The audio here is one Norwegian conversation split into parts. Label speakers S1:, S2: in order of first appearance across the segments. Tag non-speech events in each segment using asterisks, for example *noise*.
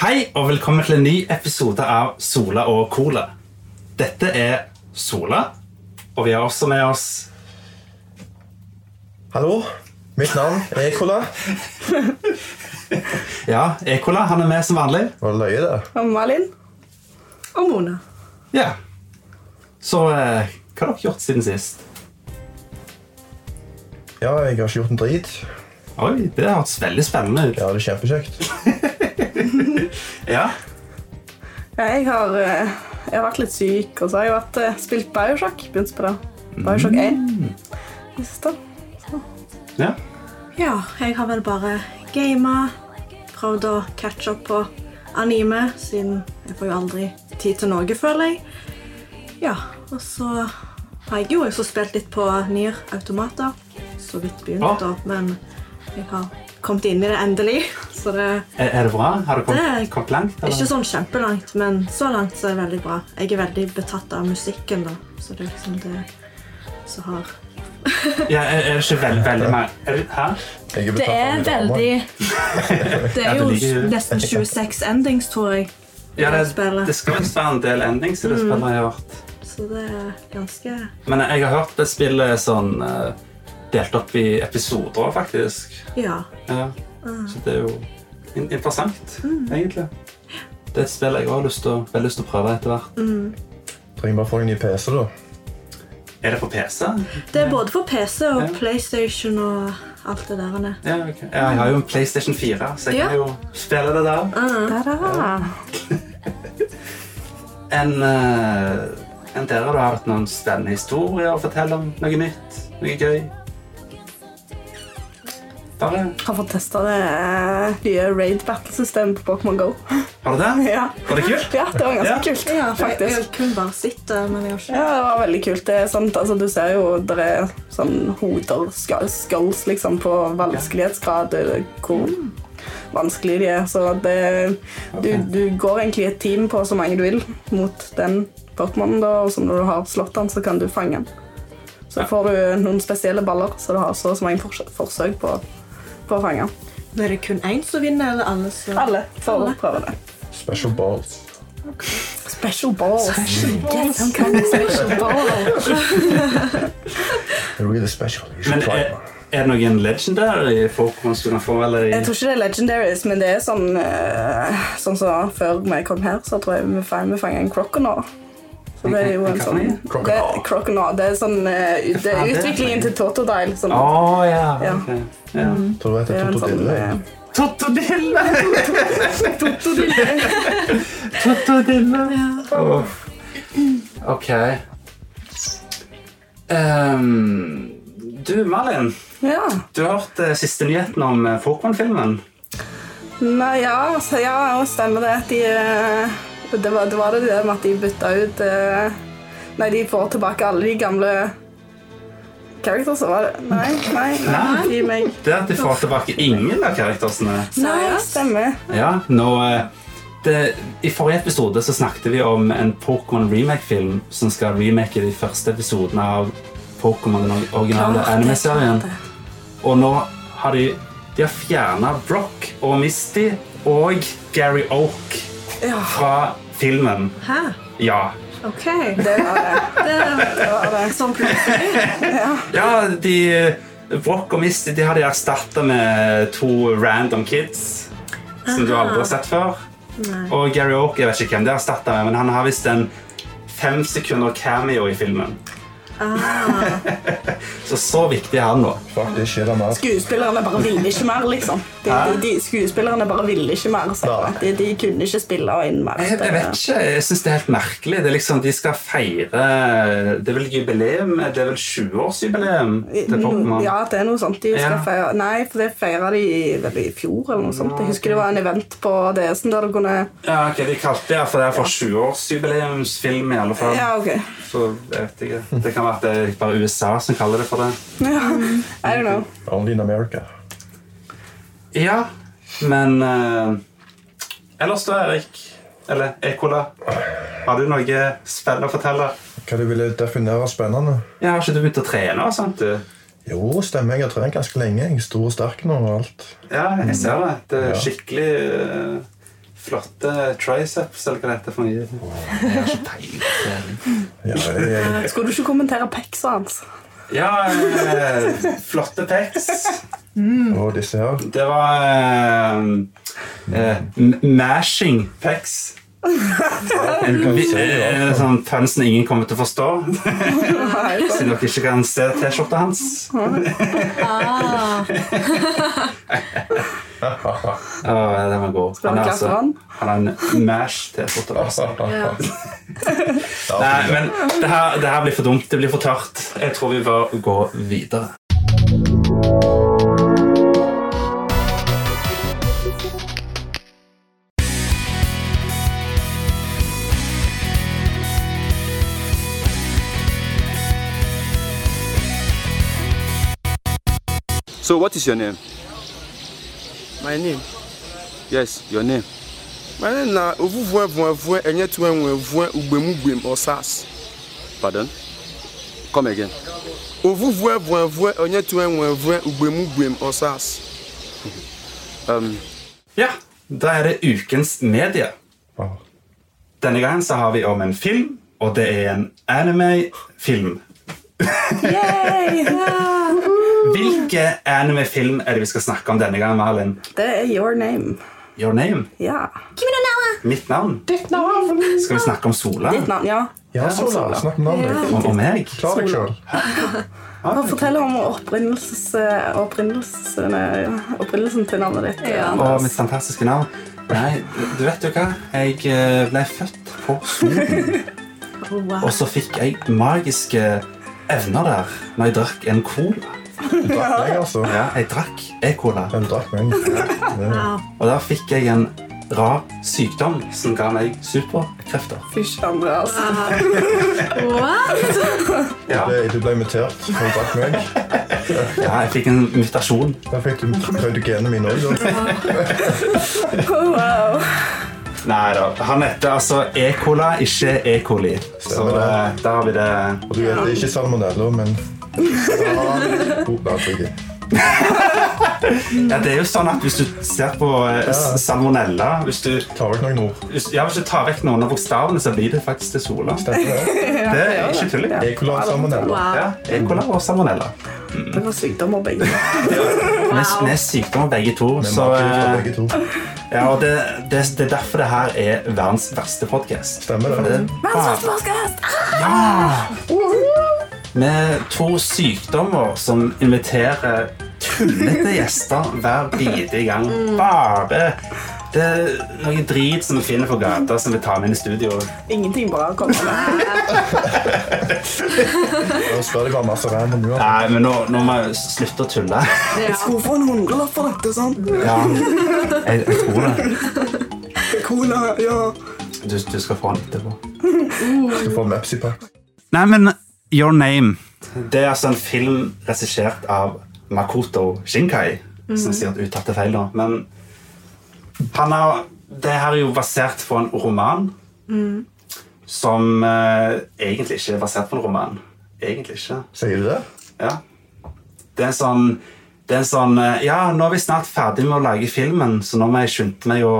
S1: Hei og velkommen til en ny episode av Sola og Cola. Dette er Sola, og vi har også med oss
S2: Hallo, mitt navn er Ekola.
S1: Ja, Ekola. Han er med som vanlig.
S2: Var det løye, det?
S3: Og Malin. Og Mona.
S1: Ja. Så eh, hva har dere gjort siden sist?
S2: Ja, jeg har ikke gjort en drit.
S1: Oi, det har hørtes veldig spennende ut.
S2: Ja, det er kjempekjekt.
S1: Ja.
S3: Ja, jeg har, eh, jeg har vært litt syk, og så har jeg vært, eh, spilt Bioshock. Begynt på det. Bioshock 1. i siste.
S1: ja.
S4: Ja, jeg har vel bare gama. Prøvd å catche opp på anime, siden jeg får jo aldri tid til noe, føler jeg. Ja, og så har jeg jo også spilt litt på Nier Automata. Så vidt begynt,
S1: Ah.
S4: da, men jeg har kommet inn i det endelig. *laughs* Så det
S1: Er, er det bra? Har du kommet,
S4: Det er
S1: kommet langt?
S4: er
S1: eller?
S4: ikke sånn kjempelangt, men så langt så er det veldig bra. Jeg er veldig betatt av musikken, da, så det er liksom det som har
S1: Ja, er, er det ikke veld, veldig mer er det, Hæ?
S2: Jeg
S4: Det
S2: betatt av
S4: er
S2: min dame.
S4: veldig
S1: Ja,
S3: *laughs*
S4: Det er
S1: det
S4: jo
S1: ligger-
S4: nesten 26 endings, tror jeg. i
S1: Ja, det,
S4: spillet.
S1: det skal visst være en del endings i det spillet. jeg har hørt.
S4: Så det er ganske
S1: Men jeg har hørt det spillet sånn eh, delt opp i episoder, faktisk.
S4: Ja.
S3: Ah.
S1: Ja. Så det er jo in interessant,
S3: Mm.
S1: egentlig. Det er et spill jeg også har lyst til, å- veldig lyst til å prøve etter hvert.
S3: Mm.
S2: Trenger bare få en ny PC, da.
S1: Er det på PC?
S3: Mm.
S4: Det er både for PC og
S1: Ja.
S4: PlayStation og alt det der. Anne.
S1: Ja, ok. ja, jeg har jo en PlayStation 4, så jeg
S4: Ja.
S1: kan jo spille det der.
S3: Ah. Da-da.
S1: Enn eh, enn dere har hatt noen spennende historier å fortelle om noe nytt, noe gøy. Bare,
S3: Har fått testa det eh, nye raid battle-systemet på Pokémon Go. *laughs*
S1: har du det?
S3: Ja.
S1: Var det kult?
S3: ja, det var ganske
S1: Ja.
S3: kult,
S4: Jeg har
S3: faktisk.
S4: kun bare sett det, men jeg har ikke
S3: Ja, det var veldig kult. Det er sant, altså, du ser jo der er sånn hoder, skal- skulls, liksom, på vanskelighetsgrad, eller hvor vanskelig de er. Så det, du, du går egentlig et team på så mange du vil mot den Pokémonen, da, og så når du har slått den, så kan du fange den. Så
S1: Ja.
S3: får du noen spesielle baller, så du har så og så mange forsø- forsøk på, på å fange den.
S4: Men Er det kun én som vinner, eller alle som
S3: Alle får prøve det.
S2: Special balls.
S3: Special balls. Yes, I'm kind of special balls.
S2: Really special. You should
S1: Men
S2: try
S1: er,
S2: it.
S1: er det noen legendary Pokémon du kan få, eller?
S3: Jeg tror ikke det er legendaries, men det er sånn eh, Sånn som før vi kom her, så tror jeg vi fang- vi fanget en croconaw. Så det er jo en sånn
S2: Croconaw?
S3: det, Croconaw. Det er sånn eh, ut- det
S1: Hva faen
S3: er
S1: er det?
S3: utviklingen til Totodile. Sånn,
S1: Å, ja.
S3: Ja. Mm.
S1: ok. ja.
S2: Tror du vet
S3: det
S2: at
S3: er en sånn
S2: Totodille
S3: eh,
S1: Tottodille!
S3: Totodile.
S1: Tottodille. Åh. OK. Ehm, du, Malin.
S3: Ja.
S1: Du har hørt eh, siste nyheten om eh, Pokémon-filmen.
S3: Nei, ja, så ja, og stemmer det. at De, eh, det, var, det var det der med at de bytta ut eh, Nei, de får tilbake alle de gamle characters, så var det Nei, nei, nei.
S1: Nei.
S3: gi meg.
S1: Det er at de får tilbake ingen av karakterene.
S3: Nei,
S4: Seriøst?
S3: stemmer.
S1: Ja, nå... eh, Det, I forrige episode så snakket vi om en Pokémon remake-film som skal remake de første episodene av Pokémon, den originale
S4: Klart det,
S1: anime-serien.
S4: klart
S1: Og nå har de, de har fjernet Brock og Misty og Gary Oak
S3: Ja.
S1: fra filmen.
S4: Hæ?
S1: Ja.
S4: OK.
S3: Det var det.
S4: Det
S3: det, var det.
S4: Sånn plutselig.
S1: Ja, de... eh, Brock og Misty de har de erstattet med to random kids som du aldri har sett før.
S4: Nei.
S1: Og Gary Oak, jeg vet ikke hvem det er erstattet med, men han har visst en fem sekunder cameo i filmen.
S3: Ah.
S1: *laughs* så så viktig er han nå.
S2: Fuck, det skjer da mer.
S3: Skuespillerne bare ville ikke mer, liksom. De, de, de, skuespillerne bare ville ikke mer. Så
S2: Nei.
S3: de, de kunne ikke spille inn mer.
S1: Jeg, jeg vet ikke, jeg synes det er helt merkelig. Det er liksom, de skal feire, det er vel jubileum, det er vel 20-årsjubileum til Pokémon.
S3: Mm, Ja, det er noe sånt. De skal
S1: Ja.
S3: feire. Nei, for det feira de i- vel i fjor eller noe sånt. Jeg husker det var en event på DS-en der du kunne
S1: Ja, ok, de kalte det for det er for 20-årsjubileumsfilm i alle fall.
S3: Ja, ok. *laughs*
S1: Så jeg vet ikke. Det kan være at det er bare USA som kaller det for det.
S3: Ja. I don't know.
S2: Only in America.
S1: Ja, men eh, Ellers da, Erik, eller Ekola, har du noe spennende å fortelle?
S2: Hva du ville definere spennende?
S1: Ja, Har ikke du begynt å trene og sånt? du?
S2: Jo, stemmer. Jeg har trent ganske lenge. Jeg er stor og sterk nå og alt.
S1: Ja, jeg ser det. Det er
S2: Ja.
S1: skikkelig eh, flotte triceps, eller hva det heter for noe. Jeg har ikke peiling.
S2: Ja, det er,
S3: Skulle du ikke kommentere peksa hans?
S1: Ja, eh, flotte pecs.
S2: og disse her.
S1: Det var eh, eh, m- mashing pecs. En vi- eh, sånn fansen ingen kommer til å forstå,
S3: *laughs* Nei,
S1: siden dere ikke kan se T-skjorta hans. *laughs*
S5: Ah,
S1: Å, Ah, den var god.
S3: Skal han
S1: er altså-
S3: klappe han?
S1: han har en mash-T-skjorte. altså.
S4: Ja.
S1: Nei, men det her, det her blir for dumt. Det blir for tørt. Jeg tror vi bør gå videre.
S6: So, what is your name?
S7: My name.
S6: Yes, your name.
S7: My name na Ovuvuevuevue Enyetuenwevue Ugbemugbem Osas.
S6: Pardon? Come again.
S7: Ovuvuevuevue Enyetuenwevue Ugbemugbem Osas.
S6: Um,
S1: Ja, da er det ukens medie.
S2: Wow.
S1: Denne gangen så har vi om en film, og det er en anime-film. Hvilke anime-film er det vi skal snakke om denne gangen, Malin?
S3: det er your name.
S1: Your name?
S3: Ja.
S1: Mitt navn? Ditt navn! Skal vi snakke om Sola?
S3: Ditt navn, ja.
S2: Ja, Sola. Snakk om navnet.
S1: Om, om meg?
S2: Klar deg sjøl.
S3: Bare fortell om opprinnelses, opprinnelsen, opprinnelsen til navnet ditt.
S5: Ja.
S1: Og mitt fantastiske navn? Nei, du vet jo hva? Jeg eh, ble født på *laughs* solen,
S4: Oh, wow.
S1: og så fikk jeg magiske evner der når jeg drakk en cola.
S2: Drakk meg, altså.
S1: Ja, jeg drakk e-cola,
S2: Den drakk meg. Ja.
S1: og da fikk jeg en rar sykdom som ga meg superkrefter.
S3: Fysj, Andreas.
S5: what?
S1: Ja.
S2: Det- Du ble mutert. Hun drakk meg.
S1: ja, jeg fikk en mutasjon.
S2: Da fikk du prøvd genene mine òg.
S3: Oh, wow.
S1: Nei da. Han heter altså e-cola, ikke e-coli. Så
S2: Stemmer det.
S1: eh, da har vi det.
S2: Og du heter ikke salmonella, men
S1: *laughs*
S2: ja. oh, bare trygg.
S1: Ja, det er jo sånn at Hvis du ser på eh, s- salmonella hvis du,
S2: Tar vekk noen ord.
S1: hvis, ja, hvis du tar vekk noen av bokstavene, så blir det faktisk til sola.
S2: Stemmer det?
S1: Det er ikke tulling.
S2: Ekola og salmonella.
S5: Wow.
S1: Ja, e-cola og salmonella.
S3: Det var sykdommer, begge.
S1: Vi vi er sykdommer begge to.
S2: Med
S1: Så,
S2: matgift fra
S1: eh,
S2: begge to.
S1: ja, og det, det, det er derfor det her er verdens verste podkast.
S2: Stemmer det?
S1: Med to sykdommer som inviterer tullete gjester hver bidige gang. Bare det er noe drit som vi finner på gata, som vi tar med inn i studio.
S3: Ingenting bra kommer med.
S2: Og spør deg bare masse random uansett.
S1: Nei, men nå, nå må jeg slutte å tulle.
S3: Jeg skulle få en hundrelapp for dette, sant?
S1: Ja, jeg, jeg tror det.
S3: Cola, ja.
S1: Du, du skal få den etterpå.
S2: Du får Mepsi-pakke.
S1: Nei, men Your Name Det er altså en film regissert av Makoto Shinkai. Som sier at uttatt er feil, da. Men han har, det her er jo basert på en roman som eh, egentlig ikke er basert på en roman. Egentlig ikke.
S2: Sier du det?
S1: Ja. Det er en sånn, det er en sånn eh, Ja, nå er vi snart ferdig med å lage filmen, så nå må jeg skynde meg å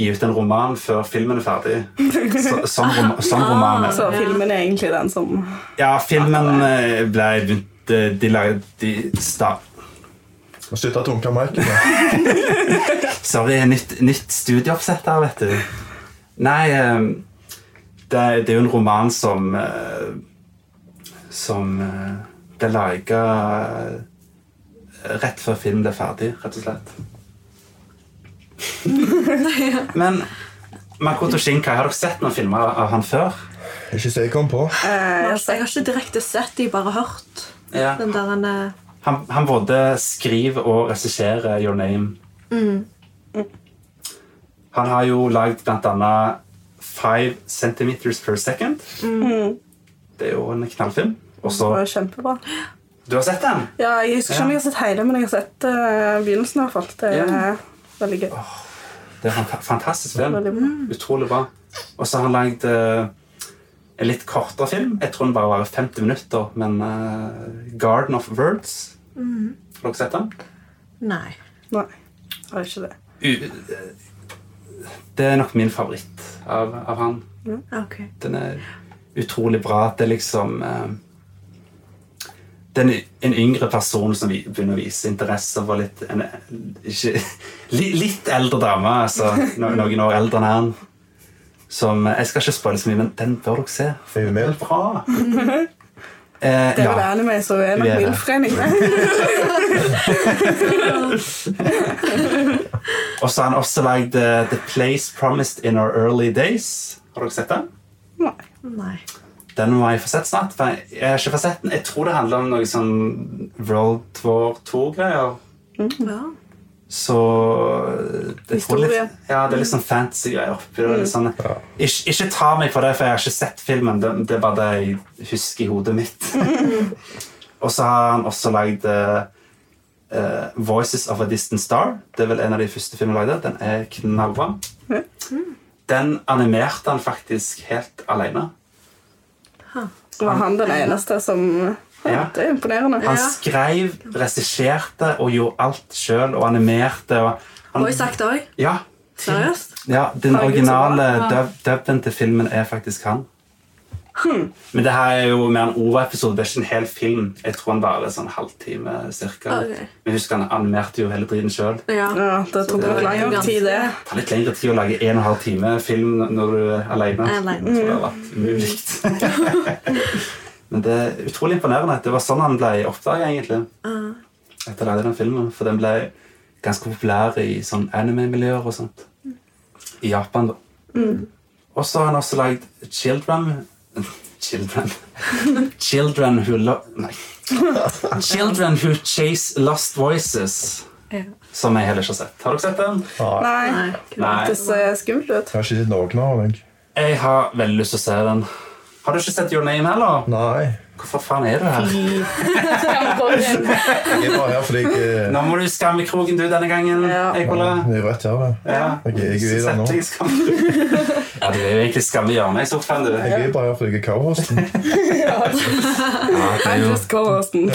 S1: gi ut en roman før filmen er ferdig. Så, sånn, rom, sånn roman er det.
S3: Så filmen er egentlig den som
S1: Ja, filmen eh, ble begynt eh, De lagde de sta.
S2: Må slutte å dunke Michael. da.
S1: Sorry, nytt, nytt studieoppsett her, vet du. Nei, eh, det, er- det er jo en roman som eh, Som eh, ble laga rett før filmen ble ferdig, rett og slett. Men Makoto Shinkai, har dere sett noen filmer av han før?
S2: Ikke se jeg kom på.
S3: eh,
S4: altså, Jeg har ikke direkte sett de, bare hørt.
S1: Ja.
S4: Den der en, eh,
S1: Han, han både skriver og regisserer Your Name. Han har jo lagd blant annet Five Centimeters Per Second. Det er jo en knallfilm. Og
S3: Det
S1: så
S3: var jo kjempebra.
S1: Du har sett den?
S3: Ja, jeg husker ikke om jeg har sett hele, men jeg har sett eh, begynnelsen i hvert fall. Det er
S1: Ja.
S3: veldig gøy.
S1: Det er en fant- fantastisk film.
S3: Veldig bra.
S1: Utrolig bra. Og så har han lagd eh, en litt kortere film. Jeg tror den bare var 50 minutter, men eh, Garden of Words Har dere sett den?
S5: Nei.
S3: Nei, det er ikke det.
S1: U- eh, Det er nok min favoritt av, av han.
S4: Ok.
S1: Den er utrolig bra. at Det er liksom eh, Det er en- en yngre person som vi- begynner å vise interesse for litt en, ikke, *laughs* li, Litt eldre dame, altså. no- Noen år eldre enn han. Som eh, Jeg skal ikke spoile så mye, men den bør dere se.
S2: Er vi med?
S3: *laughs*
S1: Bra! Eh,
S3: Det er vel
S1: ja.
S3: anime, så er
S1: Vi
S3: nok
S1: er det.
S3: min forening.
S1: *laughs* Og så har han også lagd eh, The Place Promised in Our Early Days. Har dere sett den?
S4: Nei.
S1: Den må jeg få sett snart. for Jeg jeg har ikke fått sett den. Jeg tror det handler om noe sånn World War II-greier.
S4: Ja.
S1: Så jeg tror det er
S3: Historie.
S1: Litt, ja, det er litt sånn fancy greier oppi det. og litt Sånn. Ikke, ikke ta meg for det, for jeg har ikke sett filmen. Det, det er bare det jeg husker i hodet mitt. og så har han også lagd eh, eh, Voices of a Distant Star. Det er vel en av de første filmene jeg lagde. Den er knallbra. Den animerte han faktisk helt alene.
S3: Var han den eneste som
S1: Ja.
S3: Det er imponerende.
S1: Han skrev, regisserte og gjorde alt sjøl og animerte. Og han,
S4: Voice act òg?
S1: ja,
S4: Seriøst?
S1: ja, den
S3: Herregud, så
S1: originale dub- dubben til filmen er faktisk han. Men det her er jo mer en ordepisode, det er ikke en hel film. Jeg tror han varer sånn halvtime cirka.
S4: Ok.
S1: Men husk, han animerte jo hele driten sjøl.
S4: Ja.
S3: Ja, det tok nok lang tid, det.
S1: Det tar litt lengre tid å lage en og en halv time film når du er alene.
S4: Alene.
S1: Så det har vært umulig. Men det er utrolig imponerende. Det var sånn han ble oppdaga, egentlig. Etter å ha lagd den filmen. For den ble ganske populær i sånn anime-miljøer og sånt. I Japan, da. Og så har han også lagd Children Children Children Who Lo Nei. Children Who Chase Lost Voices.
S4: Ja.
S1: Som jeg heller ikke har sett. Har dere sett den?
S2: Nei.
S3: Nei,
S4: Nei.
S1: Nei.
S3: det ser skummelt
S2: Jeg
S3: ut.
S2: har ikke sett noen av dem.
S1: Jeg har veldig lyst til å se den. Har du ikke sett Your Name heller?
S2: Nei.
S1: Hvorfor faen er du her?
S2: Jeg er bare her fordi jeg er
S1: Nå må du i skammekroken du denne gangen,
S3: Ja.
S1: Ekola.
S2: Det er rett her. da.
S1: Ja.
S2: Jeg er jo i det nå.
S1: Sett deg i skammekroken. *laughs* Ja, du er jo egentlig skammehjørnet i sofaen, du.
S2: Jeg er bare her fordi jeg er cowhosten.
S3: I'm just co-hosten.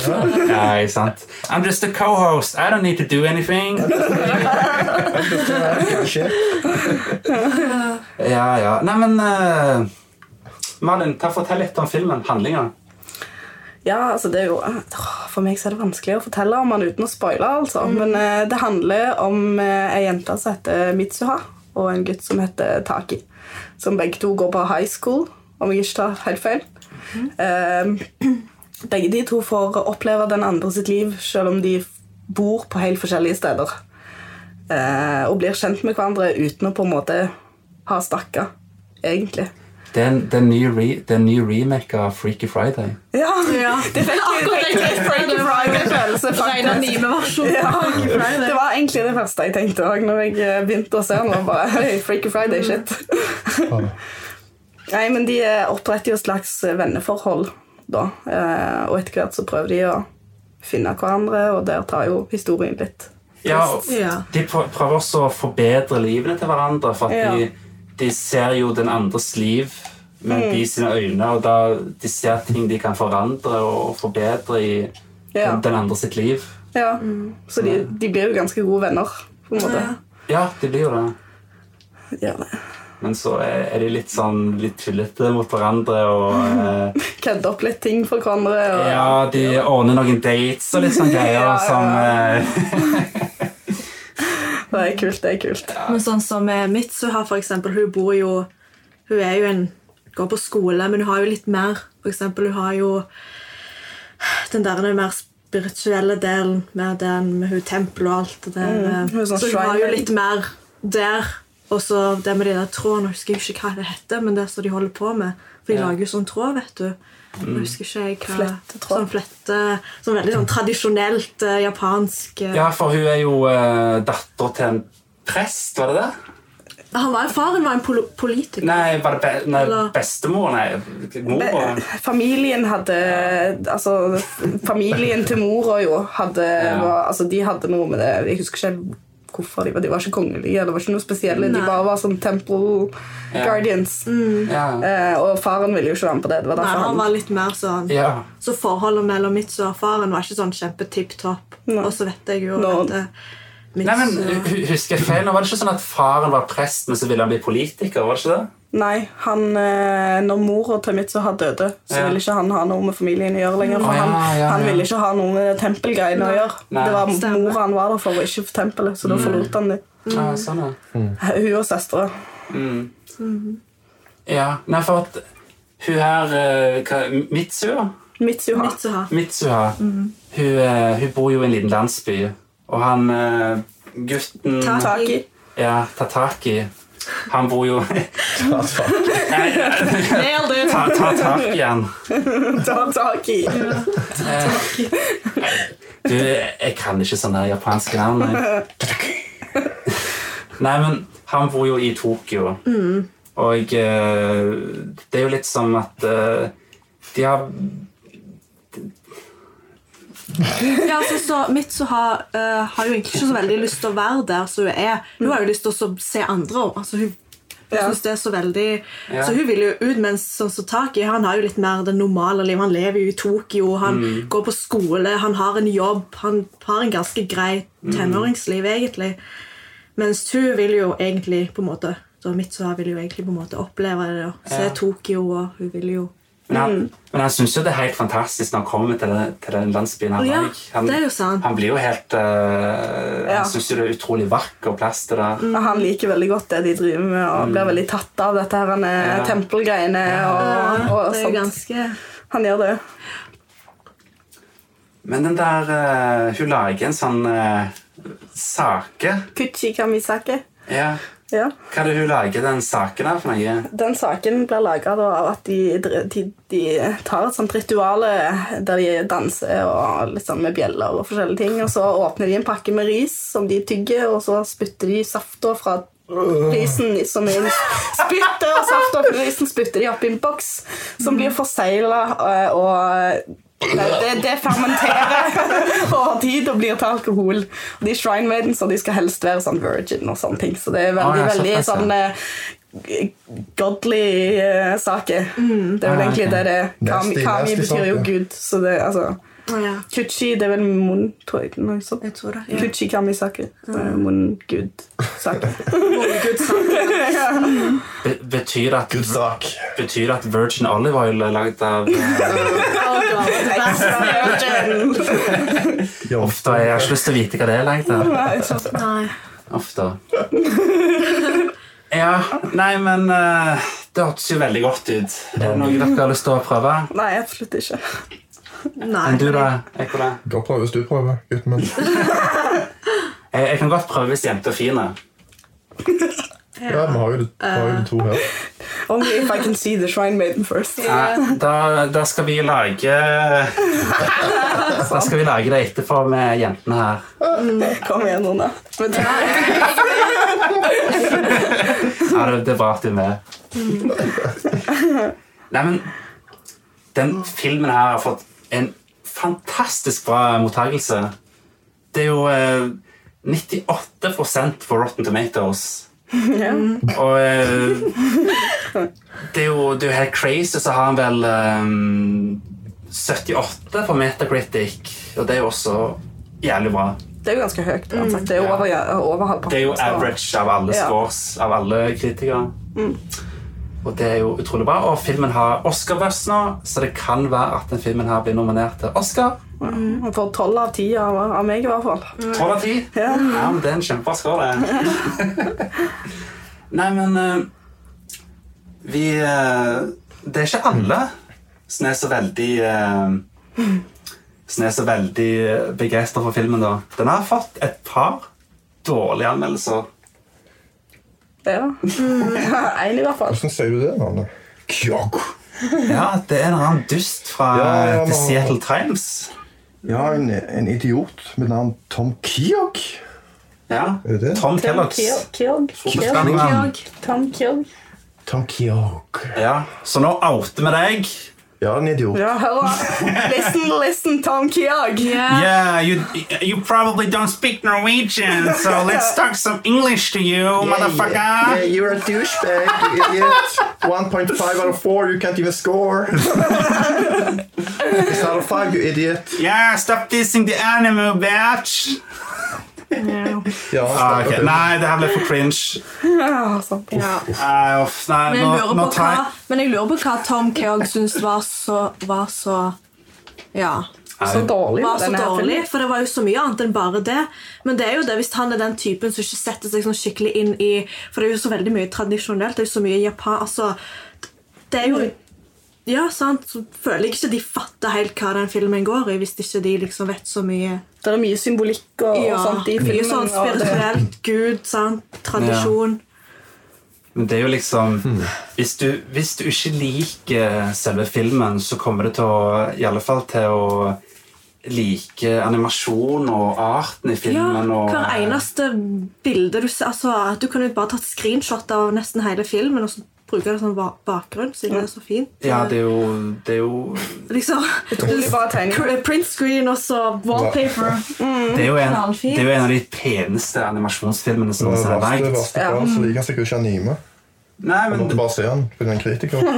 S1: Nei, sant. I'm just a co-host. I don't need to do
S2: *laughs*
S1: anything.
S2: Shit.
S1: Ja, ja. Nei, men eh, Malin, ta fortell litt om filmen. Handlinga.
S3: Ja, altså det er jo Åh, For meg så er det vanskelig å fortelle om han uten å spoile, altså. Men eh, det handler om eh, ei jente som heter Mitsuha, og en gutt som heter Taki. Som begge to går på high school, om jeg ikke tar helt feil. Mm-hmm. Eh, begge de to får oppleve den andre sitt liv, selv om de f- bor på helt forskjellige steder. Eh, og blir kjent med hverandre uten å på en måte ha snakka, egentlig.
S1: Det er en, det er en ny, re, det er en ny remake av Freaky Friday.
S3: Ja,
S4: Ja.
S3: Det *laughs* fikk litt Frankie Friday-følelse,
S4: Regner
S3: faktisk.
S4: nye versjon.
S3: Ja. *laughs*
S4: Freaky Friday.
S3: Det var egentlig det første jeg tenkte òg når jeg eh, begynte å se den. var bare, «Hey, Freaky Friday, shit. *laughs* Nei, men de eh, oppretter jo et slags venneforhold, da. Eh, Og etter hvert så prøver de å finne hverandre, og der tar jo historien litt.
S1: Ja, og
S4: Ja.
S1: De prø- prøver også å forbedre livene til hverandre. For at
S3: Ja.
S1: de, de ser jo den andres liv med de
S3: Mm.
S1: sine øyne, og da de ser ting de kan forandre og forbedre i
S3: Ja.
S1: den andre sitt liv.
S3: Ja. Så de, de blir jo ganske gode venner, på en måte.
S1: Ja, de blir jo det.
S3: Ja, det.
S1: Men så er er de litt sånn litt tullete mot hverandre,
S3: *laughs*
S1: og eh,
S3: Kødder opp litt ting for hverandre. Og,
S1: ja, de ordner noen dates og litt sånne greier
S3: *laughs* Ja, ja.
S1: som eh, *laughs*
S3: Det er kult, det er kult.
S4: Men sånn som eh, Mitsuha, for eksempel, hun bor jo Hun er jo en Går på skole, men hun har jo litt mer. For eksempel, hun har jo den der den mer spirituelle delen med den med hun tempelet og alt det der. eh,
S3: hun er sånn
S4: så hun har jo
S3: shrine.
S4: litt mer der. Og så det med de der trådene, jeg husker ikke hva det heter, men det er så de holder på med. For de
S1: Ja.
S4: lager jo sånn tråd, vet du.
S3: Mm.
S4: Jeg husker ikke jeg hva
S3: Flettetråd.
S4: Sånn flette Sånn veldig sånn tradisjonelt eh, japansk eh.
S1: Ja, for hun er jo eh, datter til en prest, var det det?
S4: Han var, Faren var en polo- politiker.
S1: Nei, var det be nei,
S4: Eller-
S1: bestemor? Nei, mor?
S3: Be- Familien hadde Altså, f- familien til mora jo hadde
S1: Ja.
S3: var, Altså, de hadde noe med det Jeg husker ikke hvorfor de var De var ikke kongelige, det var ikke noe spesielle.
S4: Nei.
S3: De bare var sånn temple
S1: Ja. Mm.
S3: guardians.
S1: Ja.
S3: Eh, og faren ville jo ikke være med på det. Det var
S4: Nei,
S3: derfor
S4: han
S3: han
S4: var litt mer sånn
S1: ja.
S4: Så forholdet mellom mitt og faren var ikke sånn kjempe tipp topp. Og så vet jeg jo
S3: Nå-
S4: at eh,
S1: Nei, men hu- hu- Husker jeg feil? nå? Var det ikke sånn at faren var prest, men så ville han bli politiker? var det ikke det?
S3: Nei, han, eh, når mora til Mitsuha døde, så
S1: Ja.
S3: ville ikke han ha noe med familien å gjøre lenger.
S1: Å,
S3: For
S1: ja,
S3: han,
S1: ja,
S3: han
S1: ja.
S3: ville ikke ha noe med tempelgreiene å gjøre.
S1: Nei. Mm.
S3: Det var
S4: Stemmer.
S3: mora han var der for, og ikke for tempelet, så da forlot han det.
S1: Ja, sånn ja.
S3: Hun og søstera.
S1: Mm. Ja, nei, for at hun her eh, hva, Mitsuha?
S3: Mitsuha.
S4: Mitsuha.
S1: Mitsuha hun, eh, hun bor jo i en liten landsby, og han eh, gutten
S4: Ta-
S3: Taki.
S1: Ja, Tataki. Han bor jo *laughs*
S4: Nailed it!
S1: Ta, ta tak i han.
S3: Ta Taki.
S1: Du, jeg kan ikke sånne her japanske navn. jeg. Nei, men han bor jo i Tokyo.
S4: Mm.
S1: Og eh, det er jo litt som at eh, de har
S4: Ja, altså, så Mitsuha eh, har jo egentlig ikke så veldig lyst til å være der som hun er. Hun har jo lyst til å se andre. også. Altså, hun hun
S3: Ja.
S4: synes det er Så veldig...
S1: Ja.
S4: Så hun vil jo ut, mens sånn som Taki han har jo litt mer det normale livet. Han lever jo i Tokyo, han går på skole, han har en jobb. Han har en ganske grei tenåringsliv, egentlig. Mens hun vil jo egentlig på en måte så Mitsuha vil jo egentlig på en måte oppleve det og se
S1: Ja.
S4: Tokyo. og hun vil jo...
S1: Men han,
S4: Mm.
S1: men han syns jo det er helt fantastisk når han kommer til, den- til den landsbyen han
S4: Å ja,
S1: var i. Han,
S4: det er jo sant.
S1: han blir jo helt eh,
S3: Ja.
S1: Han syns jo det er utrolig vakker plass til det.
S4: Mm.
S3: Og Han liker veldig godt det de driver med, og blir veldig tatt av dette her, han, eh,
S1: Ja.
S3: tempelgreiene. Og, og
S4: det er jo
S3: sånt.
S4: ganske...
S3: Han gjør det.
S1: Men den der eh, Hun lager en sånn eh, sake.
S3: Kuchi kamisake.
S1: Ja.
S3: Ja.
S1: Hva er det hun lager den saken der for noe?
S3: Den saken blir laga av at de, de, de tar et sånt ritual eh, der de danser og liksom med bjeller og forskjellige ting. Og så åpner de en pakke med ris som de tygger, og så spytter de safta fra risen som er en spytte, og safta fra risen spytter de opp i en boks som blir forsegla og Nei, det, det fermenterer over tid og blir til alkohol. Og De shrine maidens og de skal helst være sånn virgin og sånne ting. Så det er veldig,
S1: Å, ja,
S3: veldig
S1: såpass, ja.
S3: sånn eh, godly eh, saker.
S4: Mm.
S3: Det er vel
S1: Ah,
S3: egentlig
S1: ok.
S3: det det er. Kami,
S2: Nasty,
S3: kami
S2: nasty
S3: betyr jo
S2: saker.
S3: Gud, så det altså
S4: Å ja,
S3: Kuchi, det er vel munn, tror jeg. Noe sånt.
S4: jeg tror det. Ja.
S3: Kuchi kami sake. Munn-gud-sake.
S1: Be betyr, det at,
S2: Good luck.
S1: betyr det at virgin olive oil er lagd av
S2: *laughs*
S1: eh,
S2: Yo.
S1: Ofte Jeg har ikke lyst til å vite hva det er lagd av.
S4: Nei.
S1: Ofte. *laughs* Ja, nei, men eh, det hørtes jo veldig godt ut. Er det noe dere har lyst til å prøve?
S3: Nei, absolutt ikke.
S4: Nei.
S1: Men du da, Ekola?
S2: Gå og prøve hvis du prøver, gutten min.
S1: Jeg, jeg kan godt prøve hvis jenter er fine.
S2: Ja, vi har jo de, vi har jo de to her.
S3: Only if I can see the shrine maiden first.
S1: Nei, Da, da skal vi lage Da skal vi lage det etterpå med jentene her.
S3: Kom igjen, Rune. Men det er
S1: Ja, det, det er bra at du er med. Nei, men den filmen her har fått en fantastisk bra mottagelse. Det er jo eh, 98 på Rotten Tomatoes. Og eh, det, er jo, det er jo helt crazy, så har han vel eh, 78 på Metacritic, og det er jo også jævlig bra.
S3: det er jo ganske høyt.
S4: Mm.
S3: uansett. Det er jo over, over halvparten.
S1: Det er jo
S3: så-
S1: average av alle
S3: Ja.
S1: scores, av alle kritikere. Og det er jo utrolig bra. Og filmen har Oscar-buss nå, så det kan være at den filmen her blir nominert til Oscar.
S3: Han får tolv av ti av, av meg, i hvert
S4: Mm.
S3: fall.
S1: 12 av 10. Ja. men det er en kjempebra score, det. Nei, men eh, Vi eh, Det er ikke alle som er så veldig eh, Som er så veldig begeistra for filmen, da. Den har fått et par dårlige anmeldelser.
S3: Ja.
S4: Mm.
S3: *laughs* Én, i hvert fall.
S2: Hvordan sier du det navnet? Kyogo.
S1: Ja, det er en annen dust fra
S2: Ja, ja,
S1: The
S2: men-
S1: Seattle Times.
S2: Ja, en, en idiot med navn Tom Kiok.
S1: Ja.
S2: Er det det?
S1: Tom Kellogg's.
S3: Kjog. Kjog.
S1: Fotballspilleren.
S3: Tom Kjog.
S2: Tom Kiok.
S1: Ja, så nå outer vi deg.
S2: Ja, en idiot.
S3: Ja, hør da. Listen, listen, Tom Kjog.
S1: Yeah, you, you probably don't speak Norwegian,
S4: *laughs*
S1: so let's talk some English to you,
S2: Yeah,
S1: motherfucker.
S2: you're a douchebag, *laughs* you idiot. 1.5 out of 4, you can't even score. It's out of 5, you idiot.
S1: Yeah, stop dissing the animal, bitch.
S2: Ja,
S1: Ah, ok. Ah, Nei, det her ble for cringe.
S3: Ja, sant.
S4: Ja.
S1: Nei, uff, nei,
S4: Men,
S1: nå,
S4: jeg lurer
S1: nå
S4: på hva,
S1: tar jeg
S4: men jeg lurer på hva Tom Keogh syntes var så, var så Ja.
S3: Så dårlig.
S4: Var så
S3: denne her
S4: dårlig,
S3: filmen.
S4: for det var jo så mye annet enn bare det. Men det er jo det hvis han er den typen som ikke setter seg sånn skikkelig inn i For det er jo så veldig mye tradisjonelt. Det er jo så mye Japan Altså, det er jo Ja, sant. Så føler jeg ikke de fatter helt hva den filmen går i, hvis ikke de liksom vet så mye.
S3: Det er mye symbolikk og, og sånt i
S4: mye
S3: filmen.
S4: sånn
S3: og det-
S4: spirituelt. Gud, sant. Tradisjon.
S1: Men det er jo liksom hvis du, hvis du ikke liker selve filmen, så kommer du til å i alle fall til å like animasjon og arten i
S4: Ja,
S1: filmen. og,
S4: hver eneste bilde du ser altså, at Du kunne jo bare tatt screenshot av nesten hele filmen og så bruke det som ba- bakgrunn, siden det er så fint.
S1: Ja, det er jo, det er jo,
S4: Liksom,
S3: Utrolig bra tegning.
S4: Cr- Print screen og så wallpaper.
S1: det er jo, en,
S4: knallfint.
S1: det er jo en av de peneste animasjonsfilmene som
S2: Det var verste,
S1: er
S2: verste bra, så liker han sikkert ikke anime.
S1: Nei,
S2: Han
S1: men
S2: måtte bare se han pga. en *laughs* kritiker.
S4: Han,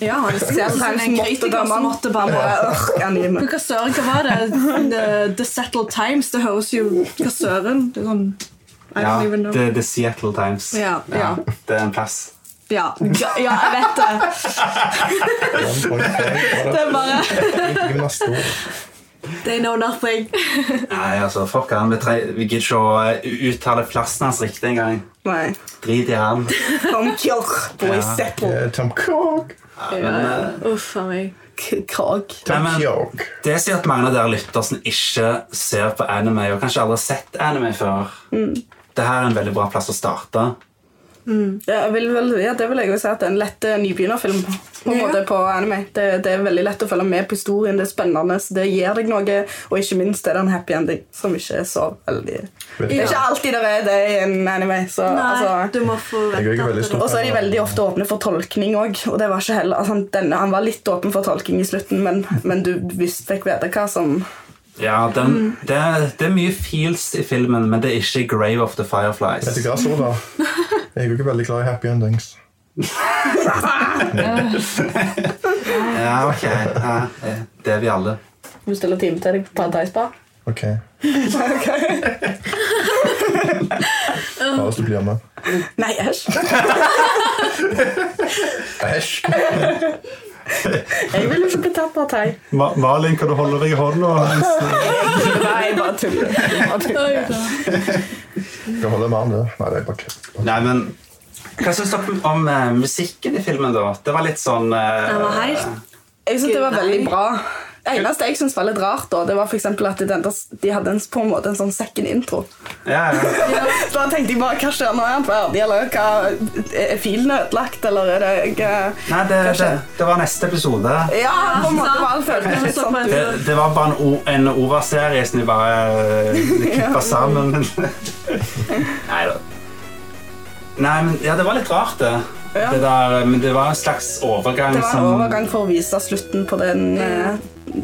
S4: ja, han ser ut som
S3: Selv
S4: sånn en
S3: måtte
S4: kritiker som måtte bare
S3: bare øh, anime.
S4: Men Hva søren, hva var det? The, the Settled Times? Det høres jo Hva søren? Det er sånn I
S1: ja,
S4: don't even know.
S1: det, det er Seattle Times.
S4: Ja, ja.
S1: det er en plass.
S4: Ja, ja, ja, jeg vet det.
S2: One point five, var
S4: Det er bare
S2: det ikke neste år?
S4: They know nothing.
S1: Nei, altså, fuck han. Vi, tre, vi gidder ikke å eh, uttale plassen hans riktig engang.
S3: Nei.
S1: Drit i han.
S3: Tom Kjørk, boy
S1: Ja.
S3: settle.
S2: Eh, Tom Cook.
S4: Uff a meg.
S3: K- Krag.
S1: Nei,
S2: Tom
S1: men-
S2: Cook.
S1: Det sier at mange av dere lytter som ikke ser på anime og kanskje aldri har sett anime før.
S4: Mm.
S1: Dette er en veldig bra plass å starte.
S3: Ja, jeg vil vel, ja, det vil jeg jo si at det er en lett eh, nybegynnerfilm på, en
S4: Ja.
S3: måte, på anime. Det, det er veldig lett å følge med på historien, det er spennende, så det gir deg noe. Og ikke minst er det en happy ending, som ikke er så veldig Det er ikke alltid det er det i en anime. Så,
S4: Nei,
S3: altså,
S4: du må få
S2: Jeg er ikke veldig stor.
S3: og så er de veldig ofte åpne for tolkning òg. Og det var ikke heller, altså, denne, han var litt åpen for tolking i slutten, men, men du visst fikk vite hva som
S1: Ja, den,
S4: Mm.
S1: det, er- det er mye feels i filmen, men det er ikke 'Grave of the Fireflies'.
S2: Vet du hva, Sola? Jeg er jo ikke veldig glad i happy endings.
S1: Ja, ok. Ja, eh, det er vi alle.
S3: bestiller time til deg på Paradise Bar.
S2: Ok. Bare hvis du blir med.
S3: Nei, æsj.
S2: Æsj!
S3: Jeg vil ikke bli tatt av thai.
S2: Malin, kan du holde deg i hånda?
S3: *laughs* Nei, jeg bare tuller. Jeg bare tuller.
S2: Skal holde med han, du. Nei, det er bare kødd.
S1: Nei, men Hva syns dere om eh, musikken i filmen, da? Det var litt sånn eh,
S4: Den var helt
S3: Jeg synes det var
S4: Nei.
S3: veldig bra. Det eneste jeg synes var litt rart, da, det var for eksempel at de, de hadde en, på en måte en sånn second intro.
S1: ja, ja.
S3: Så *laughs* da tenkte jeg bare, hva skjer nå? Er han ferdig, eller hva, er filen ødelagt, eller er det ikke...
S1: Nei, det, det, det var neste episode.
S3: Ja, på en måte var det føltes litt sånn ut.
S1: Det, det var bare en, o- en Ova-serie som de bare
S3: *laughs*
S1: klippa sammen. Nei da. Nei, men ja, det var litt rart, det.
S3: Ja.
S1: det der, eh, men det var en slags overgang
S3: Det var en
S1: som
S3: overgang for å vise slutten på den, eh,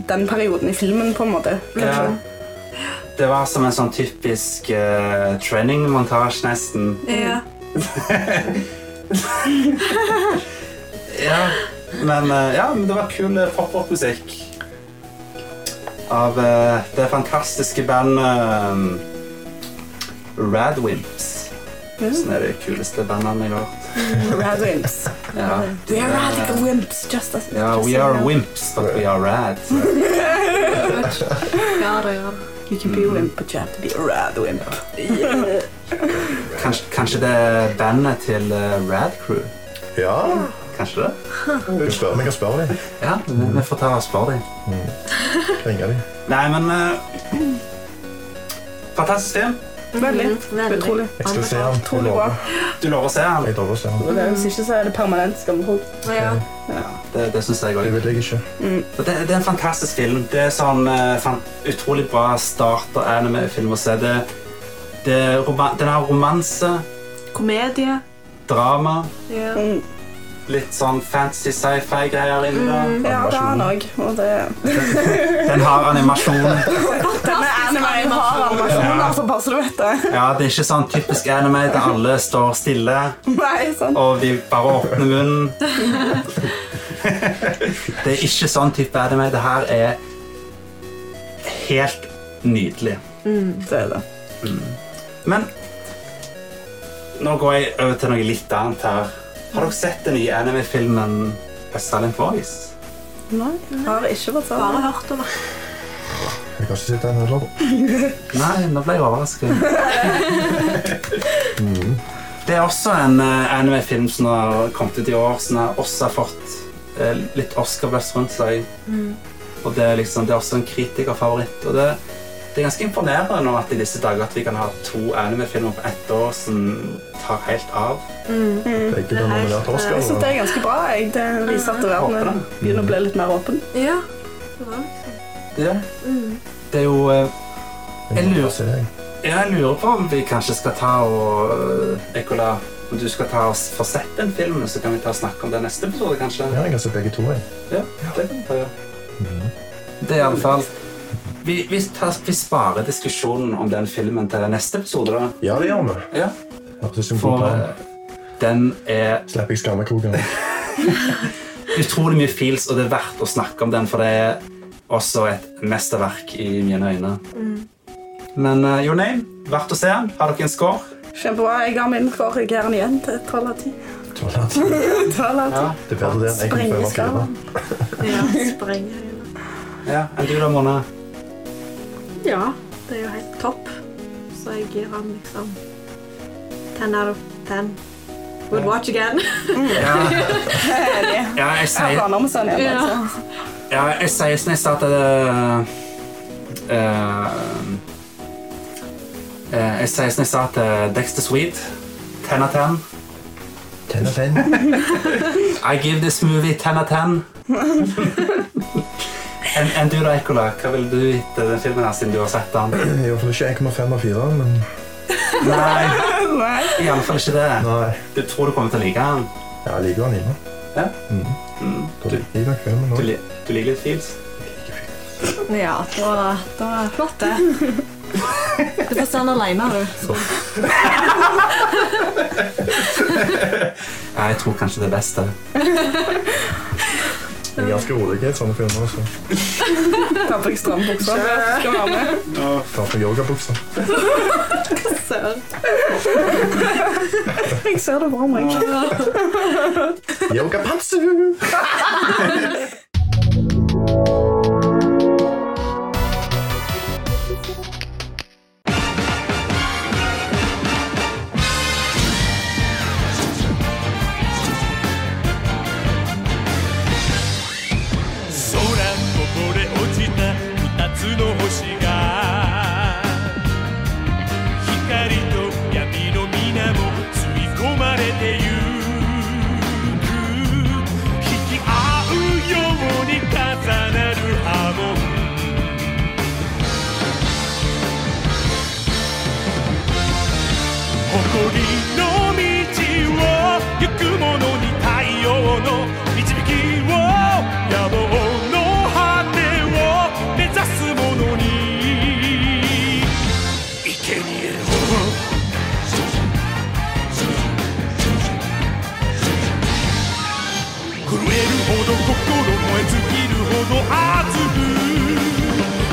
S3: den perioden i filmen, på en måte.
S1: Ja. Det var som en sånn typisk eh, training-montasje, nesten.
S4: ja.
S1: Ja. Men, eh, ja, men det var kul eh, pop-up-musikk. Av eh, det fantastiske bandet eh, Radwimps. Som er det kuleste bandet jeg har hørt.
S3: Rad wimps.
S1: Ja.
S3: We are radical wimps, just as...
S1: Ja,
S3: just
S1: we
S3: as-
S1: are wimps, but we are rad.
S4: ja, det gjør det.
S3: You can be a wimp, but you have to be a rad wimp.
S1: Kanskje, kanskje det er bandet til eh, Rad Crew?
S2: Ja,
S1: Kanskje det?
S2: du spør meg og spør dem.
S1: Ja, vi vi får ta og spørre dem.
S2: Ringer dem.
S1: Nei, men eh, Fantastisk film.
S3: Veldig.
S4: Veldig.
S3: Utrolig.
S2: Jeg skal se han. Jeg
S3: Utrolig bra.
S2: lover.
S1: Du lover å se den?
S2: Jeg lover å se han.
S3: Hvis ikke så er det permanent skammehold.
S4: Ja.
S1: Ja, det, det syns jeg
S2: Det
S1: òg.
S2: vil jeg ikke.
S1: Det, det er en fantastisk film. Det er sånn eh, fan, utrolig bra starter-anime-film å se. Det, det, er roman- den har romanse,
S4: Komedie.
S1: drama,
S4: Ja.
S1: litt sånn fancy sci-fi-greier inni der.
S3: Ja, det har han òg. Og det
S1: Den har animasjon.
S3: Denne anime har animasjoner, så bare så du vet det. *laughs*
S1: Ja, det er ikke sånn typisk anime der alle står stille
S3: Nei, sånn. sant.
S1: og de bare åpner munnen. Det er ikke sånn type anime. Det her er helt nydelig.
S3: Det er det.
S1: Men nå går jeg over til noe litt annet her. Har dere sett den nye anime-filmen A Silent Voice?
S3: Nei, har ikke vært sånn.
S4: Bare hørt om det.
S2: Jeg kan ikke sitte her heller,
S3: Mm.
S2: da.
S1: Nei, nå ble jeg overrasket. Mm. Det er også en eh, anime-film som har kommet ut i år, som har også fått eh, litt Oscar-blest rundt seg. Og det er, liksom, det er også en kritikerfavoritt. Og det, det er ganske imponerende nå at i disse dager at vi kan ha to anime-filmer på ett år som tar helt av.
S2: Begge blir nominert til Oscar.
S3: Jeg synes det er ganske bra. Jeg. Det viser at verden
S1: Håper
S3: begynner å bli litt mer åpen.
S4: Ja. Det var liksom.
S1: Ja. Det er jo eh,
S2: da.
S1: Jeg lurer.
S2: Se deg.
S1: Jeg lurer på om vi kanskje skal ta og Ekola, om du skal ta og s- få sett den filmen, så kan vi ta og snakke om det i neste episode, kanskje?
S2: Ja, jeg har sett begge to. Jeg.
S1: Ja, det kan vi ta, ja. Det er iallfall vi, vi, tar, vi sparer diskusjonen om den filmen til neste episode, da.
S2: Ja, det gjør vi.
S1: Ja,
S2: Hørtes ut som en god
S1: For
S2: plan.
S1: eh, den er
S2: Slipper jeg skammekroken.
S1: utrolig mye feels, og det er verdt å snakke om den, for det er også et mesterverk i mine øyne. Men uh, your name, verdt å se den. Har dere en score?
S3: Kjempebra. Jeg har min kvar. Jeg gir den igjen til 12 av 10.
S2: Tolv av ti. Det
S3: 12 av 10.
S2: er bedre *laughs* det enn 1,5 av 4.
S3: Sprengeskalaen.
S4: Ja, sprenger det.
S1: Ja, Enn du da, Mona?
S4: Ja, det er jo helt topp. Så jeg gir han liksom 10 out of 10. Would watch again.
S1: Ja. ja, jeg
S3: Jeg
S1: sier
S3: planer om å se den igjen.
S4: Ja.
S3: altså.
S1: ja, jeg sier som jeg sa til eh, eh, Jeg sier som jeg sa til Dexter Sweet. Ten av ten.
S2: Ten av ten.
S1: I give this movie ten av ten. Enn enn du da, Ekola? Hva ville du gitt eh, den filmen her siden du har sett den?
S2: I hvert fall ikke 1,5 av 4, men
S1: Nei,
S3: Nei.
S1: iallfall ikke det.
S2: Nei.
S1: Du tror du kommer til å like den?
S2: Ja, jeg liker den inne.
S1: Ja.
S2: Mm.
S1: Mm.
S2: Da liker jeg filmen
S1: Du,
S2: òg.
S1: li- du liker litt feels?
S5: Ja, det var, det var flott, det. Du får se den alene, du.
S1: Ja, jeg tror kanskje det beste.
S2: Jeg er ganske rolig i sånne filmer. Så
S3: Ta på deg strømbuksa. Skal være med.
S2: tar på yogabukser.
S3: Jeg ser det for meg.
S2: Yogapantser!
S8: 空こぼれ落ちた二つの星が光と闇の皆も吸い込まれてゆく引き合うように重なる波紋誇りの道を行く者に太陽の導きを野望の果てを目指す者に生贄を震えるほど心燃え尽きるほど熱く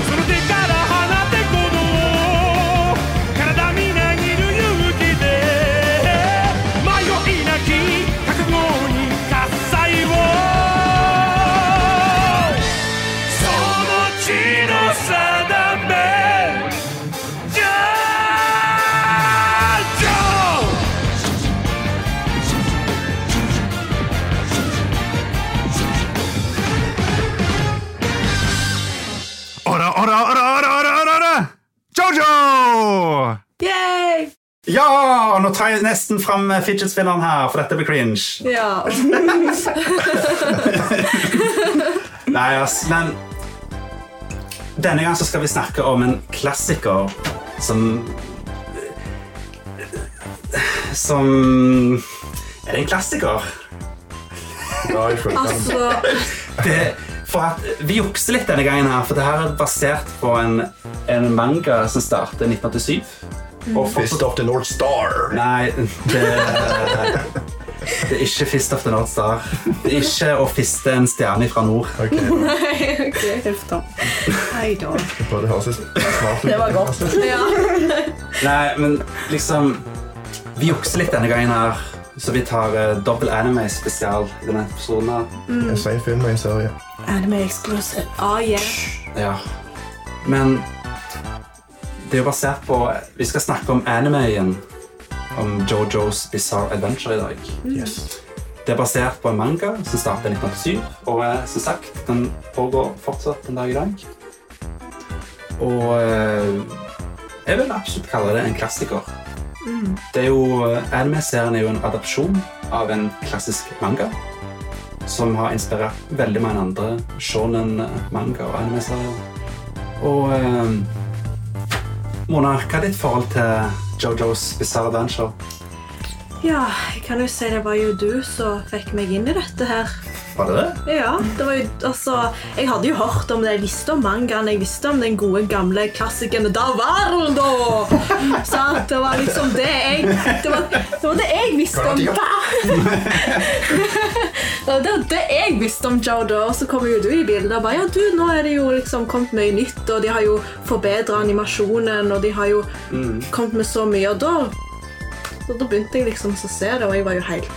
S8: その手から放て鼓動体みなぎる勇気で迷いなき覚悟に喝采をその血の定めジャージョー
S1: Ora, ora, ora, ora, ora, ora, ora! Jojo!
S5: Yay!
S1: Ja! Nå tar jeg nesten fram fidget-spinneren her, for dette blir cringe.
S5: Ja.
S1: Nei, ass, men Denne gang så skal vi snakke om en klassiker som Som Er det en klassiker?
S2: Ja, jeg føler den.
S4: altså,
S1: Det, for at, vi jukser litt denne gangen, her, for det her er basert på en, en manga som startet i 1987. Og fortsatt
S2: Fist of the North Star.
S1: Nei, det Det er ikke Fist of the North Star. Det er ikke å fiste en stjerne fra nord.
S3: Uff da.
S4: Nei da.
S2: Bare det høres litt smart ut.
S3: Det var godt.
S5: Ja.
S1: Nei, men liksom Vi jukser litt denne gangen her. Så vi tar uh, dobbel anime spesial i denne episoden. her.
S2: En sen film og en serie.
S3: Anime exclusive.
S4: Ah, yeah.
S1: Ja. Men det er jo basert på Vi skal snakke om anime igjen. Om Jojo's Bizarre Adventure i dag.
S2: Yes.
S1: Det er basert på en manga som startet i 1987, og eh, som sagt, den pågår fortsatt den dag i dag. Og eh, jeg vil absolutt kalle det en klassiker. Det er jo, eh, Anime-serien er jo en adopsjon av en klassisk manga, som har inspirert veldig mange andre shonen-manga og anime-serier. Og eh, Mona, hva er ditt forhold til Jojo's Bizarre Adventure?
S4: Ja, jeg kan jo si det var jo du som fikk meg inn i dette her.
S1: Var det det?
S4: Ja, det var jo, altså, Jeg hadde jo hørt om det, jeg visste om mangaen, jeg visste om den gode, gamle klassikeren Da Vardo! *laughs* Sant? Det var liksom det jeg Det var det, var det jeg visste om da! Og *laughs* det var det jeg visste om Jodo, og så kommer jo du i bildet og bare Ja, du, nå er det jo liksom kommet mye nytt, og de har jo forbedra animasjonen, og de har jo kommet med så mye, og da så da begynte jeg liksom å se det, og jeg var jo helt,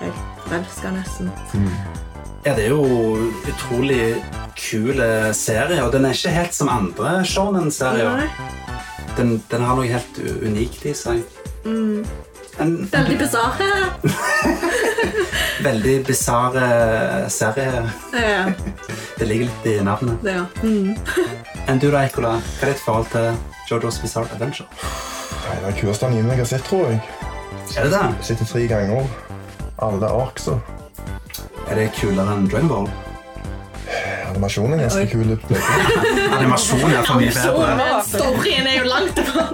S4: helt forelska nesten.
S1: Ja, det er jo utrolig kul eh, serie, og den er ikke helt som andre shonen-serier.
S4: Nei.
S1: Den, den har noe helt u- unikt i seg. En
S4: Veldig *laughs* bisarr.
S1: veldig bisarr eh, serie.
S4: Eh,
S1: Det ligger litt i navnet.
S4: det, Mm. ja.
S1: Enn du da, Ekola? Hva er ditt forhold til Jojo's Bizarre Adventure?
S2: Nei, det er den kuleste animen jeg har sett, tror jeg.
S1: Er det det?
S2: Jeg sitter tre ganger. Alle ark, så.
S1: Er det kulere enn Dragon Ball?
S2: Animasjonen er ganske kul.
S1: Animasjonen er for mye bedre.
S4: Men storyen er jo langt ifra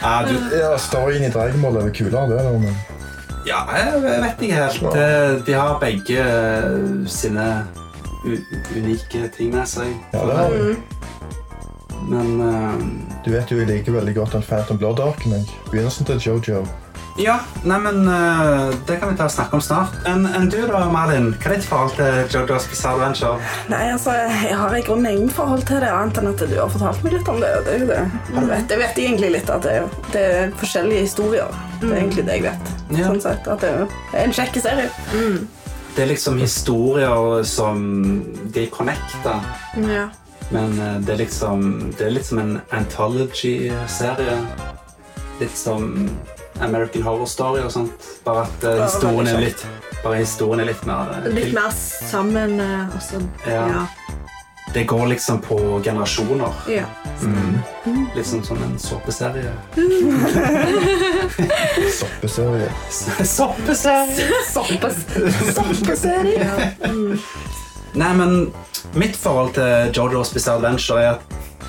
S1: Ja, du,
S2: Ja, storyen i Dragonball er vel kulere, det. da, Men
S1: ja, jeg vet ikke helt. Det- De har begge eh, sine u unike ting med seg.
S2: ja, det har vi.
S3: Mm.
S1: Men eh,
S2: Du vet jo jeg liker veldig godt den Phantom Blood-arken. jeg. Begynnelsen til Jojo.
S1: Ja, nei, men eh, det kan vi ta og snakke om snart. Enn enn du da, Malin? Hva er ditt forhold til Jojo's Bizarre Adventure?
S3: Nei, altså, jeg har i grunnen ingen forhold til det, annet enn at du har fortalt meg litt om det. og det, er jo det. Jeg, vet, jeg vet egentlig litt at det, det er forskjellige historier. Det er egentlig det jeg vet.
S1: Ja.
S3: Sånn sett, at det er en kjekk serie.
S1: Det er liksom historier som de connecter,
S4: Mm, Ja.
S1: men eh, det er liksom Det er litt som en anthology-serie. Litt som American Horror Story og sånt. Bare at eh,
S3: Ja,
S1: historien er
S3: veldig
S1: litt Bare historien er litt mer eh,
S4: Litt mer sammen eh, også.
S1: Ja.
S4: Ja.
S1: Det går liksom på generasjoner.
S4: ja.
S1: Litt sånn som en såpeserie. *laughs*
S2: Soppeserie.
S1: Soppeserie!
S3: Soppes. Soppeserie.
S1: Nei, men mitt forhold til Jojo's Bizarre Adventure er at